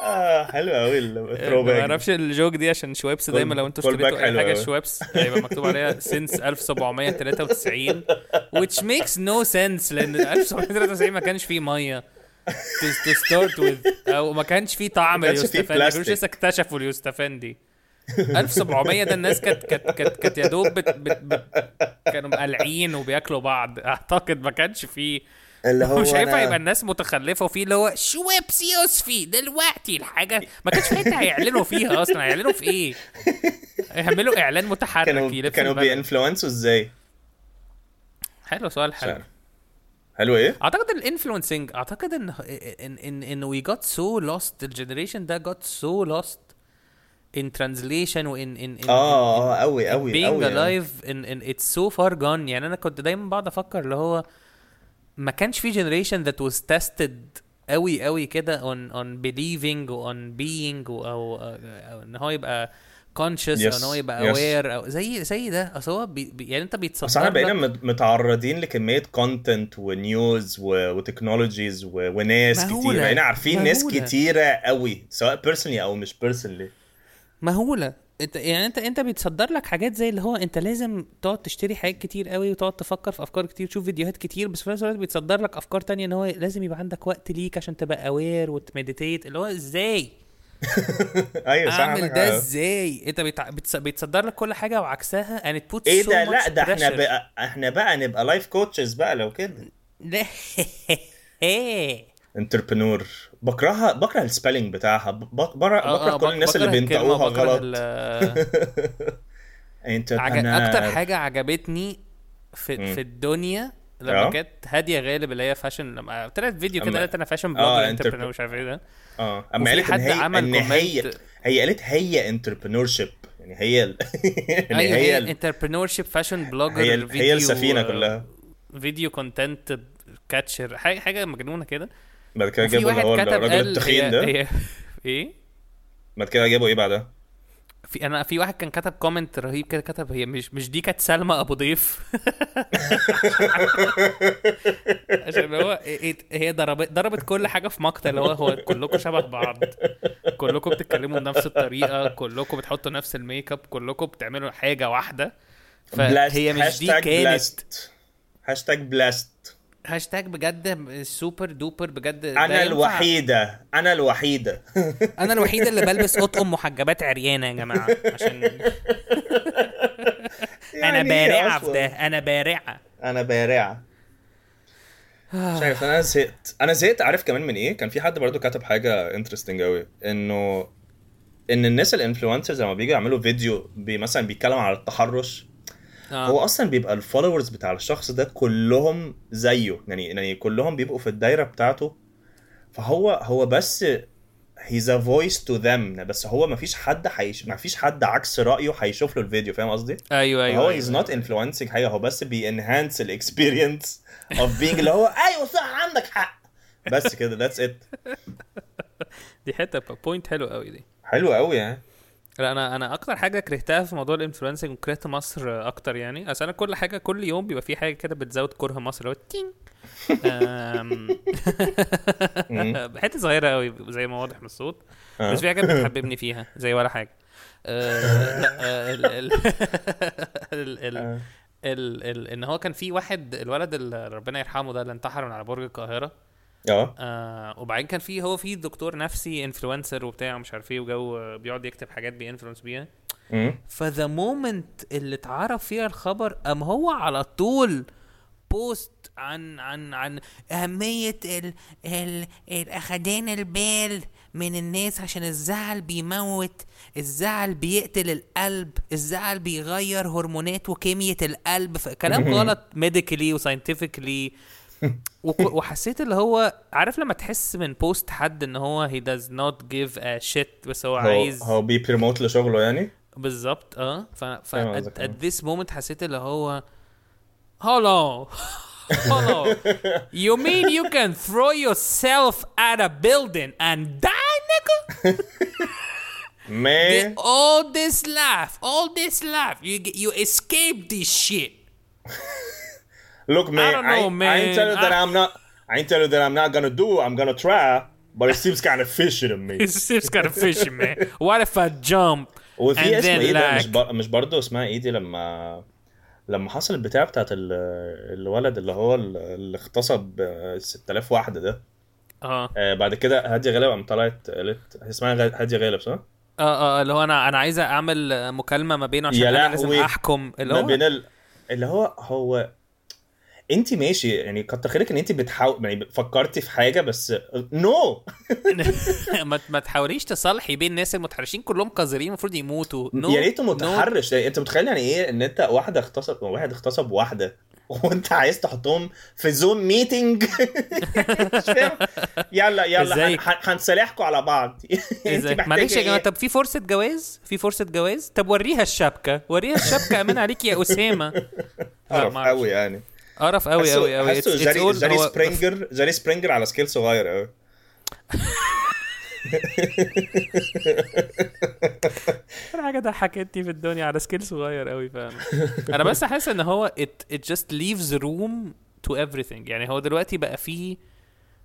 Speaker 2: اه حلو قوي الثرو
Speaker 1: إيه، آه، ما
Speaker 2: باك
Speaker 1: اعرفش الجوك دي عشان شويبس دايما لو انتوا
Speaker 2: call back
Speaker 1: اشتريتوا اي
Speaker 2: حلو
Speaker 1: حاجه
Speaker 2: أوي.
Speaker 1: شويبس هيبقى مكتوب عليها since 1793 which makes no sense لان 1793 ما كانش فيه ميه to, to start with او ما كانش فيه طعم
Speaker 2: ما كانش فيه
Speaker 1: اليوستفندي ما
Speaker 2: بلاستيك.
Speaker 1: كانوش لسه اكتشفوا اليوستفندي 1700 ده الناس كانت كانت كانت كانت يا دوب بت بت بت كانوا مقلعين وبياكلوا بعض اعتقد ما كانش فيه
Speaker 2: اللي
Speaker 1: مش هينفع يبقى الناس متخلفه وفي اللي هو شويبس يوسفي دلوقتي الحاجه ما كانش في حته هيعلنوا فيها اصلا هيعلنوا في ايه؟ هيعملوا اعلان متحرك
Speaker 2: كانوا
Speaker 1: يلف
Speaker 2: كانوا
Speaker 1: البلد.
Speaker 2: بينفلونسوا ازاي؟
Speaker 1: حلو سؤال
Speaker 2: مش
Speaker 1: حلو
Speaker 2: عارف. حلو ايه؟
Speaker 1: اعتقد الانفلونسنج اعتقد ان ان ان ان وي جوت سو لوست الجنريشن ده جوت سو لوست in translation وان ان in,
Speaker 2: اه اه قوي
Speaker 1: in
Speaker 2: قوي
Speaker 1: being
Speaker 2: قوي
Speaker 1: alive in, in it's so far gone يعني انا كنت دايما بقعد افكر اللي هو ما كانش في generation that was tested قوي قوي كده on on believing و on being و او, أو ان هو يبقى conscious او ان هو
Speaker 2: Yes,
Speaker 1: يبقى
Speaker 2: yes.
Speaker 1: aware او زي زي ده اصل هو بي بي- يعني انت
Speaker 2: بس احنا
Speaker 1: بيتصدر
Speaker 2: بقينا
Speaker 1: لك
Speaker 2: مت- متعرضين لكميه كونتنت ونيوز و- وتكنولوجيز و- وناس
Speaker 1: مهولة.
Speaker 2: كتير بقينا عارفين ناس
Speaker 1: مهولة.
Speaker 2: كتيره قوي سواء بيرسونلي او مش بيرسونلي
Speaker 1: مهوله انت يعني انت انت بيتصدر لك حاجات زي اللي هو انت لازم تقعد تشتري حاجات كتير قوي وتقعد تفكر في افكار كتير تشوف فيديوهات كتير بس في نفس الوقت بيتصدر لك افكار تانية ان هو لازم يبقى عندك وقت ليك عشان تبقى اوير وتمديتيت اللي هو ازاي
Speaker 2: ايوه صح
Speaker 1: اعمل
Speaker 2: عندك
Speaker 1: ده
Speaker 2: حق.
Speaker 1: ازاي انت بيتع... بيتص- بيتصدر لك كل حاجه وعكسها and it puts
Speaker 2: ايه
Speaker 1: so
Speaker 2: ده
Speaker 1: much
Speaker 2: لا ده احنا
Speaker 1: pressure.
Speaker 2: بقى احنا بقى نبقى لايف كوتشز بقى لو كده
Speaker 1: لا ايه
Speaker 2: انتربرنور بكرهها بكره السبelling بتاعها ب-
Speaker 1: آه،
Speaker 2: بكره بكره كل
Speaker 1: بك-
Speaker 2: الناس اللي
Speaker 1: بكره الكلمة
Speaker 2: بينطقوها
Speaker 1: وبكره
Speaker 2: غلط
Speaker 1: ال-
Speaker 2: انت
Speaker 1: عجب اكتر حاجه عجبتني في مم. في الدنيا لما
Speaker 2: آه.
Speaker 1: كانت هاديه غالب اللي هي فاشن لما طلعت فيديو كده
Speaker 2: أما-
Speaker 1: قالت انا فاشن
Speaker 2: آه،
Speaker 1: بلوجر
Speaker 2: انترب-
Speaker 1: انتربرنور مش عارف ايه ده
Speaker 2: اه اما
Speaker 1: وفي
Speaker 2: قالت ان
Speaker 1: حد
Speaker 2: هي
Speaker 1: عمل
Speaker 2: ان هي
Speaker 1: كومنت-
Speaker 2: هي قالت هي انتربرنور شيب يعني هي ال... ان
Speaker 1: ايوه
Speaker 2: هي
Speaker 1: هي آه.
Speaker 2: ال...
Speaker 1: انتربرنور شيب فاشن بلوجر
Speaker 2: هي, ال... هي السفينه كلها
Speaker 1: فيديو كونتنت كاتشر حاجه حاجة مجنونه كده
Speaker 2: بعد كده
Speaker 1: وفي
Speaker 2: جابوا اللي
Speaker 1: واحد
Speaker 2: هو
Speaker 1: كتب
Speaker 2: الراجل
Speaker 1: قال
Speaker 2: التخين
Speaker 1: هي-
Speaker 2: ده
Speaker 1: هي- ايه
Speaker 2: بعد كده جابوا ايه إيه بعدها
Speaker 1: في انا في واحد كان كتب كومنت رهيب كده كتب هي مش مش دي كانت سلمى ابو ضيف عشان هو إيه- إيه- هي ضربت ضربت كل حاجه في مقتل هو هو كلكم شبه بعض كلكم بتتكلموا بنفس الطريقه كلكم بتحطوا نفس الميك اب كلكم بتعملوا حاجه واحده فهي مش دي
Speaker 2: هاشتاج
Speaker 1: كانت
Speaker 2: بلاست. هاشتاج بلاست
Speaker 1: هاشتاج بجد سوبر دوبر بجد ده
Speaker 2: انا
Speaker 1: ينفع.
Speaker 2: الوحيده انا الوحيده
Speaker 1: انا الوحيده اللي بلبس قطقم محجبات عريانه يا جماعه عشان انا
Speaker 2: يعني إيه
Speaker 1: بارعه في
Speaker 2: أصلاً؟
Speaker 1: ده انا بارعه
Speaker 2: انا بارعه مش عارف انا زهقت انا زهقت عارف كمان من ايه كان في حد برضو كتب حاجه انترستنج قوي انه ان الناس الانفلونسرز لما بييجوا يعملوا فيديو بي مثلا بيتكلم على التحرش
Speaker 1: آه.
Speaker 2: هو اصلا بيبقى الفولورز بتاع الشخص ده كلهم زيه يعني يعني كلهم بيبقوا في الدايره بتاعته فهو هو بس he's a voice to them بس هو مفيش حد حيش... مفيش حد عكس رايه هيشوف له الفيديو فاهم قصدي؟
Speaker 1: ايوه ايوه
Speaker 2: هو
Speaker 1: أيوة.
Speaker 2: he's not influencing حاجه هو بس بينهانس الاكسبيرينس of being اللي هو ايوه صح عندك حق بس كده that's it
Speaker 1: دي حته بوينت حلو قوي دي
Speaker 2: حلو قوي يعني
Speaker 1: لا انا انا اكتر حاجه كرهتها في موضوع الانفلونسنج وكرهت مصر اكتر يعني اصل انا كل حاجه كل يوم بيبقى في حاجه كده بتزود كره مصر اللي هو تين أم. حته صغيره قوي زي ما واضح من الصوت
Speaker 2: آه.
Speaker 1: بس في حاجات بتحببني فيها زي ولا حاجه آه، لا، آه، ال- ال- ال- ال-
Speaker 2: آه.
Speaker 1: ال- ال- ان هو كان في واحد الولد اللي ربنا يرحمه ده اللي انتحر من على برج القاهره
Speaker 2: اه
Speaker 1: آه وبعدين كان في هو في دكتور نفسي انفلونسر وبتاع ومش عارف ايه وجو آه، بيقعد يكتب حاجات بينفلونس بيها
Speaker 2: مم.
Speaker 1: فذا مومنت اللي اتعرف فيها الخبر ام هو على طول بوست عن عن عن اهميه ال ال الاخدان البال من الناس عشان الزعل بيموت الزعل بيقتل القلب الزعل بيغير هرمونات وكيمياء القلب فكلام غلط ميديكلي وساينتفكلي وك- وحسيت اللي هو عارف لما تحس من بوست حد ان هو he does not give a shit بس هو
Speaker 2: هو
Speaker 1: عايز
Speaker 2: هو بيبريموت لشغله يعني
Speaker 1: بالظبط اه ف ف
Speaker 2: فاهم
Speaker 1: at,
Speaker 2: قصدك،
Speaker 1: at this moment حسيت اللي هو hello hello you mean you can throw yourself at a building and die nigga
Speaker 2: man
Speaker 1: all this life all this life you get- you escape this shit
Speaker 2: look man I,
Speaker 1: don't
Speaker 2: I,
Speaker 1: know,
Speaker 2: ain't tell you
Speaker 1: man.
Speaker 2: that
Speaker 1: I-
Speaker 2: I... am not I ain't tell you that I'm not gonna do I'm gonna try but it seems kind of fishy to me
Speaker 1: it's just kind of fishy man what if I jump
Speaker 2: وفي
Speaker 1: and
Speaker 2: اسم
Speaker 1: then
Speaker 2: ايه ده مش
Speaker 1: like
Speaker 2: بر... مش برضه اسمها ايه دي لما لما حصل البتاع بتاعت ال... الولد اللي هو ال- اللي اغتصب آه، 6000 واحده ده
Speaker 1: اه
Speaker 2: آه بعد كده هادي غالب قام طلعت قالت اسمها غ- هادي غالب صح؟
Speaker 1: اه اه اللي هو انا انا عايزه اعمل مكالمه ما بينه عشان
Speaker 2: يا
Speaker 1: انا لازم
Speaker 2: لهوي.
Speaker 1: احكم اللي
Speaker 2: ما
Speaker 1: هو
Speaker 2: بين ال... اللي هو هو انت ماشي يعني كتر خيرك ان انت بتحاول يعني فكرتي في حاجه بس نو
Speaker 1: ما ما تحاوليش تصالحي بين الناس المتحرشين كلهم قذرين المفروض يموتوا
Speaker 2: no. يا ريته متحرش يعني انت متخيل يعني ايه ان انت واحده اغتصب واحد اغتصب واحده وانت عايز تحطهم في زوم ميتنج مش فاهم؟ يلا يلا هن-
Speaker 1: ازيك؟
Speaker 2: هن- هنصالحكم على بعض يعني انت
Speaker 1: ازاي
Speaker 2: محتاجة
Speaker 1: معلش يا جماعه
Speaker 2: ايه؟
Speaker 1: طب في فرصه جواز في فرصه جواز طب وريها الشبكه وريها الشبكه امين عليك يا آه، اسامه لا،
Speaker 2: قرف
Speaker 1: ما أعرفش.
Speaker 2: قوي يعني
Speaker 1: قرف قوي قوي قوي
Speaker 2: حاسه
Speaker 1: It's- it's
Speaker 2: جاري
Speaker 1: all-
Speaker 2: جاري
Speaker 1: هو-
Speaker 2: سبرينجر جاري سبرينجر على سكيل صغير قوي
Speaker 1: اكتر حاجه ضحكتني في الدنيا على سكيل صغير قوي فعلا انا بس حاسس ان هو it, it just leaves room to everything يعني هو دلوقتي بقى فيه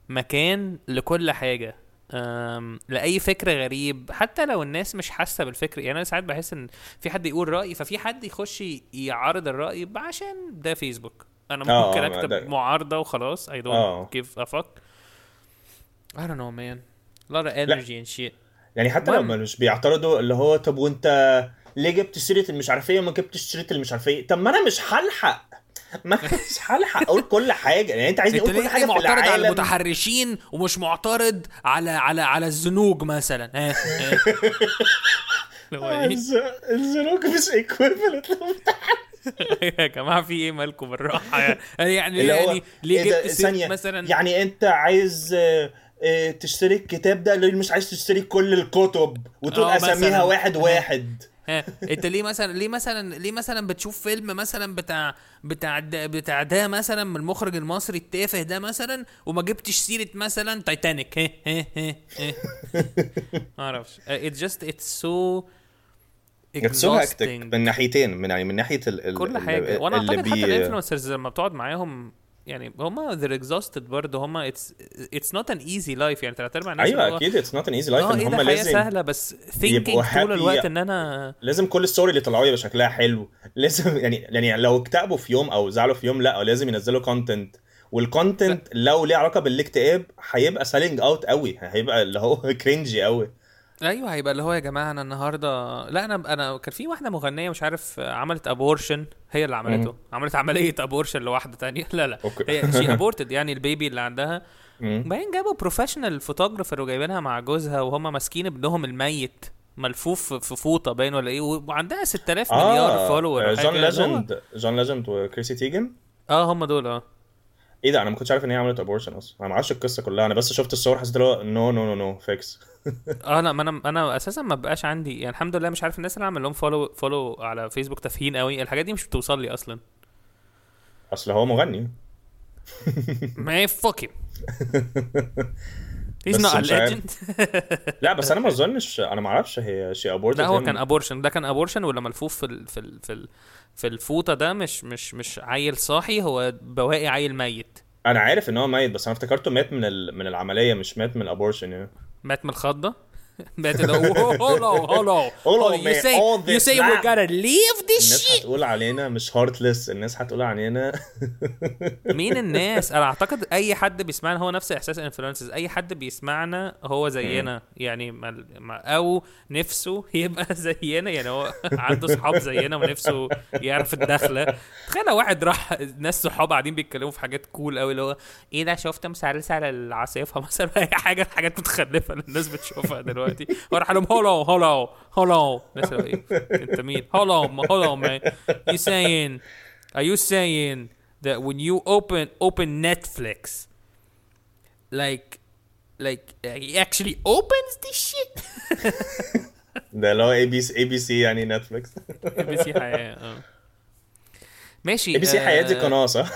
Speaker 1: مكان لكل حاجه أم لاي فكر غريب حتى لو الناس مش حاسه بالفكر يعني انا ساعات بحس ان في حد يقول راي ففي حد يخش يعارض الراي عشان ده فيسبوك انا
Speaker 2: آه،
Speaker 1: ممكن
Speaker 2: آه،
Speaker 1: اكتب
Speaker 2: ده-
Speaker 1: معارضه وخلاص I
Speaker 2: آه.
Speaker 1: don't give a fuck I don't know man a lot of energy and shit
Speaker 2: يعني حتى لو
Speaker 1: المهم.
Speaker 2: ما مش بيعترضوا اللي هو طب وانت ليه جبت سيره المش عارف ايه وما جبتش سيره المش عارف ايه طب ما انا مش هلحق ما أنا مش هلحق اقول كل حاجه يعني انت عايزني
Speaker 1: انت
Speaker 2: اقول كل
Speaker 1: ليه
Speaker 2: حاجه في
Speaker 1: معترض على
Speaker 2: العالم
Speaker 1: المتحرشين ومش معترض على على على الزنوج مثلا ها ها. اللي هو ايه؟
Speaker 2: الزنوج مش ايكويفالنت
Speaker 1: يا جماعه في ايه مالكم بالراحه يعني يعني ليه يعني
Speaker 2: إيه
Speaker 1: ليه جبت سيرة مثلا
Speaker 2: يعني انت عايز آه، آه، تشتري الكتاب ده ليه مش عايز تشتري كل الكتب وتقول
Speaker 1: اه، مثلا.
Speaker 2: اساميها واحد واحد
Speaker 1: ها، انت ليه مثلا ليه مثلا ليه مثلا بتشوف فيلم مثلا بتاع بتاع ده بتاع ده مثلا من المخرج المصري التافه ده مثلا وما جبتش سيره مثلا تايتانيك ها ها ها ها ما اعرفش اتس جاست اتس سو
Speaker 2: اتس سو هاكتك
Speaker 1: exhausting.
Speaker 2: من ناحيتين من يعني من ناحيه ال ال
Speaker 1: كل
Speaker 2: ال-
Speaker 1: حاجه وانا
Speaker 2: اللي
Speaker 1: اعتقد حتى
Speaker 2: بي-
Speaker 1: الانفلونسرز لما بتقعد معاهم يعني هما they're exhausted برضه هما اتس اتس نوت ان ايزي لايف يعني تلات ارباع الناس اللي
Speaker 2: ايوه
Speaker 1: هو
Speaker 2: اكيد اتس نوت ان ايزي لايف
Speaker 1: اه
Speaker 2: ان
Speaker 1: ايه
Speaker 2: هم
Speaker 1: ده حياه
Speaker 2: لازم
Speaker 1: سهله بس thinking
Speaker 2: يبقوا
Speaker 1: طول
Speaker 2: happy.
Speaker 1: الوقت ان انا
Speaker 2: لازم كل ستوري اللي طلعوه يبقى شكلها حلو لازم يعني يعني لو اكتئبوا في يوم او زعلوا في يوم لا لازم ينزلوا كونتنت والكونتنت لو ليه علاقه بالاكتئاب هيبقى سيلينج اوت قوي هيبقى اللي هو كرنجي قوي
Speaker 1: ايوه هيبقى اللي هو يا جماعه انا النهارده لا انا انا كان في واحده مغنيه مش عارف عملت ابورشن هي اللي عملته عملت عمليه ابورشن لواحده تانية لا لا
Speaker 2: أوكي.
Speaker 1: هي شي ابورتد يعني البيبي اللي عندها بعدين جابوا بروفيشنال فوتوغرافر وجايبينها مع جوزها وهم ماسكين ابنهم الميت ملفوف في فوطه باين ولا ايه وعندها 6000 مليار فولور
Speaker 2: آه، جون
Speaker 1: يعني.
Speaker 2: ليجند جون ليجند وكريسي تيجن
Speaker 1: اه هم دول اه
Speaker 2: ايه ده انا ما كنتش عارف ان هي عملت ابورشن اصلا انا ما اعرفش القصه كلها انا بس شفت الصور حسيت اللي هو نو نو نو نو فيكس
Speaker 1: اه لا ما انا انا اساسا ما بقاش عندي يعني الحمد لله مش عارف الناس اللي عامل لهم فولو فولو على فيسبوك تافهين قوي الحاجات دي مش بتوصل لي اصلا
Speaker 2: اصل هو مغني
Speaker 1: ما فوكي
Speaker 2: بس
Speaker 1: He's not a
Speaker 2: مش عارف.
Speaker 1: legend
Speaker 2: لا بس انا ما اظنش انا ما اعرفش هي شي ابورتد
Speaker 1: ده هو كان ابورشن ده كان ابورشن ولا ملفوف في ال في ال في, ال في الفوطه ده مش مش مش عيل صاحي هو بواقي عيل ميت
Speaker 2: انا عارف ان هو ميت بس انا افتكرته مات من ال... من العمليه مش مات من الابورشن يعني
Speaker 1: مات من الخضه مات اللي هو هولو هولو
Speaker 2: Hello,
Speaker 1: Oh, you
Speaker 2: man.
Speaker 1: say
Speaker 2: All
Speaker 1: you
Speaker 2: this
Speaker 1: say we
Speaker 2: now.
Speaker 1: gotta leave this
Speaker 2: الناس
Speaker 1: shit
Speaker 2: هتقول علينا مش هارتلس الناس هتقول علينا
Speaker 1: مين الناس انا اعتقد اي حد بيسمعنا هو نفس احساس الانفلونسرز اي حد بيسمعنا هو زينا يعني ما ما- او نفسه يبقى زينا يعني هو عنده صحاب زينا ونفسه يعرف الدخله تخيل لو واحد راح ناس صحاب قاعدين بيتكلموا في حاجات كول قوي اللي هو ايه ده شفت مسلسل العاصفه مثلا اي حاجه حاجات متخلفه اللي الناس بتشوفها دلوقتي هو راح لهم هولو هولو هولو الناس اللي هو ايه انت مين هولو هولو مان يو ساين Are you saying that when you open open Netflix, like like uh, he actually opens this shit?
Speaker 2: ده اللي هو اي بي سي اي بي سي يعني نتفليكس
Speaker 1: إيه، ABC حياة اه ماشي
Speaker 2: اي بي سي
Speaker 1: آه،
Speaker 2: حياتي قناه صح؟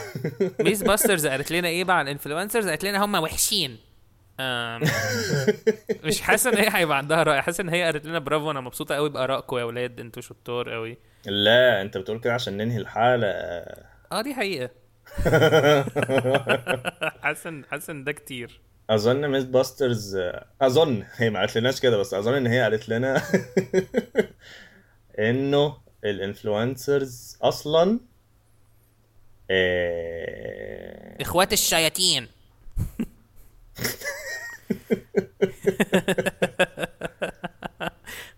Speaker 1: ميز باسترز قالت لنا ايه بقى على الانفلونسرز قالت لنا هم وحشين آم، مش حاسس ان هي هيبقى عندها رأي حاسس ان هي قالت لنا برافو انا مبسوطه قوي بارائكم يا ولاد انتوا شطار قوي
Speaker 2: لا انت بتقول كده عشان ننهي الحلقه
Speaker 1: اه دي حقيقه حاسس ان حاسس ان ده كتير
Speaker 2: اظن ميس باسترز اظن آه، هي ما قالت لناش كده بس اظن ان هي قالت لنا انه الانفلونسرز اصلا آه،
Speaker 1: اخوات الشياطين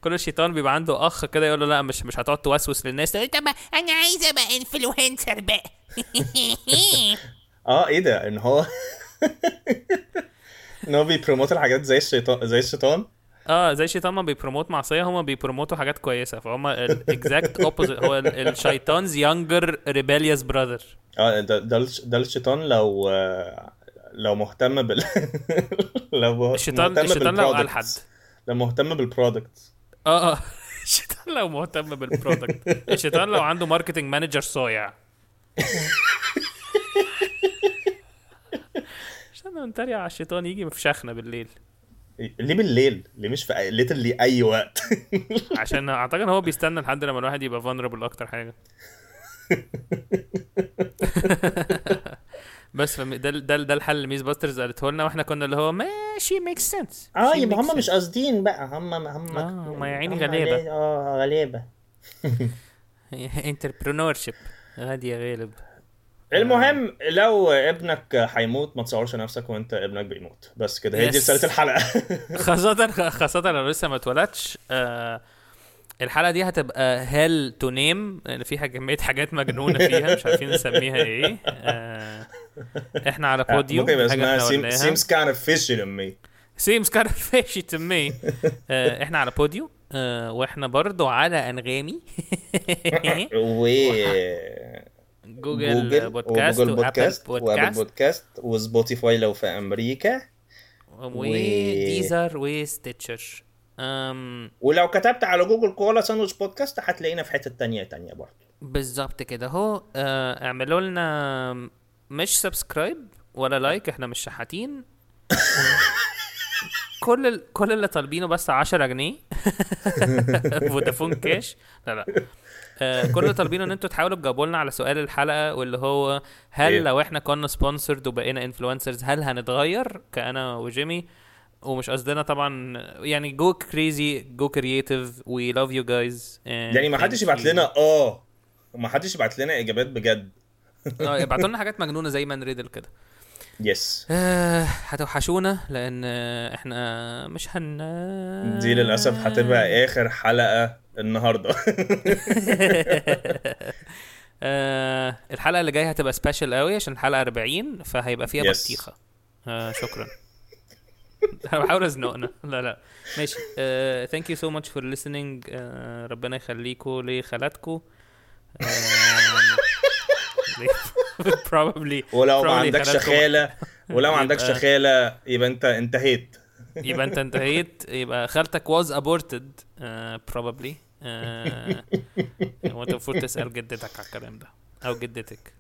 Speaker 1: كل شيطان بيبقى عنده اخ كده يقول له لا مش مش هتقعد توسوس للناس طب
Speaker 3: انا عايزه ابقى انفلونسر بقى
Speaker 2: اه ايه ده ان هو ان هو بيبروموت الحاجات زي الشيطان زي الشيطان
Speaker 1: اه زي الشيطان ما بيبروموت معصيه هما بيبروموتوا حاجات كويسه فهم الاكزاكت اوبوزيت هو ال- الشيطانز يونجر ريبيليوس براذر
Speaker 2: اه ده ده الش- ده الشيطان لو آه، لو مهتم بال لو مه-
Speaker 1: الشيطان
Speaker 2: مهتم
Speaker 1: الشيطان لو
Speaker 2: بالproducts.
Speaker 1: الحد
Speaker 2: لو مهتم بالبرودكت
Speaker 1: اه اه الشيطان لو مهتم بالبرودكت الشيطان لو عنده ماركتنج مانجر صايع عشان نتريق على الشيطان يجي في شخنه بالليل
Speaker 2: ليه بالليل؟ ليه مش في ليترلي اي وقت؟
Speaker 1: عشان اعتقد هو بيستنى لحد لما الواحد يبقى فانربل اكتر حاجه بس فم- ده ده ده الحل اللي ميز باسترز قالته لنا واحنا كنا اللي هو ماشي ميكس سنس
Speaker 4: اه يبقى هم مش قاصدين بقى هم هم
Speaker 1: آه، هما يا عيني
Speaker 4: هم
Speaker 1: غلابة.
Speaker 4: غلا- اه غلابه
Speaker 1: انتربرنور شيب غادي يا غالب
Speaker 2: المهم لو ابنك هيموت ما تصورش نفسك وانت ابنك بيموت بس كده هي دي
Speaker 1: Yes.
Speaker 2: رساله الحلقه
Speaker 1: خاصة خاصة لو لسه ما اتولدش آه الحلقة دي هتبقى هيل تو نيم لأن فيها كمية حاجات مجنونة فيها مش عارفين نسميها ايه آه احنا على بوديو
Speaker 2: آه، ممكن يبقى
Speaker 1: حاجة إيه؟
Speaker 2: اسمها
Speaker 1: احنا
Speaker 2: seem-
Speaker 1: قلناها.
Speaker 2: seems kind of fishy to me
Speaker 1: seems kind of fishy to me آه احنا على بوديو آه واحنا برضو على انغامي إيه؟
Speaker 2: و
Speaker 1: جوجل, بودكاست
Speaker 2: وجوجل
Speaker 1: وابل
Speaker 2: بودكاست وابل
Speaker 1: بودكاست
Speaker 2: بودكاست وسبوتيفاي لو في امريكا
Speaker 1: وديزر وستيتشر أم،
Speaker 2: ولو كتبت على جوجل كولا ساندويتش بودكاست هتلاقينا في حته تانية تانية برضه
Speaker 1: بالظبط كده اهو آه، اعملوا لنا مش سبسكرايب ولا لايك احنا مش شحاتين كل ال... كل اللي طالبينه بس 10 جنيه فودافون كاش لا لا آه، كل اللي طالبينه ان انتوا تحاولوا تجاوبوا لنا على سؤال الحلقه واللي هو هل
Speaker 2: إيه؟
Speaker 1: لو احنا كنا سبونسرد وبقينا انفلونسرز هل هنتغير كأنا وجيمي ومش قصدنا طبعا يعني جو كريزي جو كرييتيف وي لاف يو جايز
Speaker 2: يعني ما حدش يبعت لنا اه ما حدش يبعت لنا اجابات بجد
Speaker 1: آه، ابعتوا لنا حاجات مجنونه زي مان ريدل كده
Speaker 2: يس
Speaker 1: آه، هتوحشونا لان آه، احنا مش هن
Speaker 2: دي للاسف هتبقى إيه؟ اخر حلقه النهارده
Speaker 1: آه، الحلقه اللي جايه هتبقى سبيشال قوي عشان الحلقه 40 فهيبقى فيها
Speaker 2: Yes.
Speaker 1: بطيخه آه، شكرا انا بحاول ازنقنا لا لا ماشي آه، ثانك يو سو ماتش فور listening آه، ربنا يخليكوا لخالاتكو آه، probably
Speaker 2: ولو
Speaker 1: probably
Speaker 2: ما عندكش
Speaker 1: خالاتكو-
Speaker 2: خاله ولو ما عندكش
Speaker 1: يبقى-
Speaker 2: خاله يبقى انت انتهيت
Speaker 1: يبقى انت انتهيت يبقى خالتك was aborted uh, probably آه، وانت المفروض تسال جدتك على الكلام ده او جدتك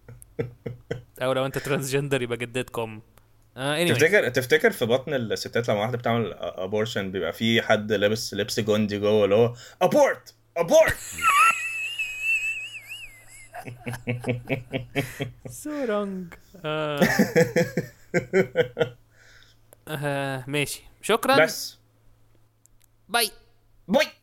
Speaker 1: او لو انت ترانسجندر يبقى جدتكم آه، anyway.
Speaker 2: تفتكر تفتكر في بطن الستات لما واحده بتعمل ابورشن بيبقى في حد لابس لبس جندي جوه اللي هو ابورت ابورت
Speaker 1: so wrong آه. آه، ماشي شكرا
Speaker 2: بس
Speaker 1: باي
Speaker 2: باي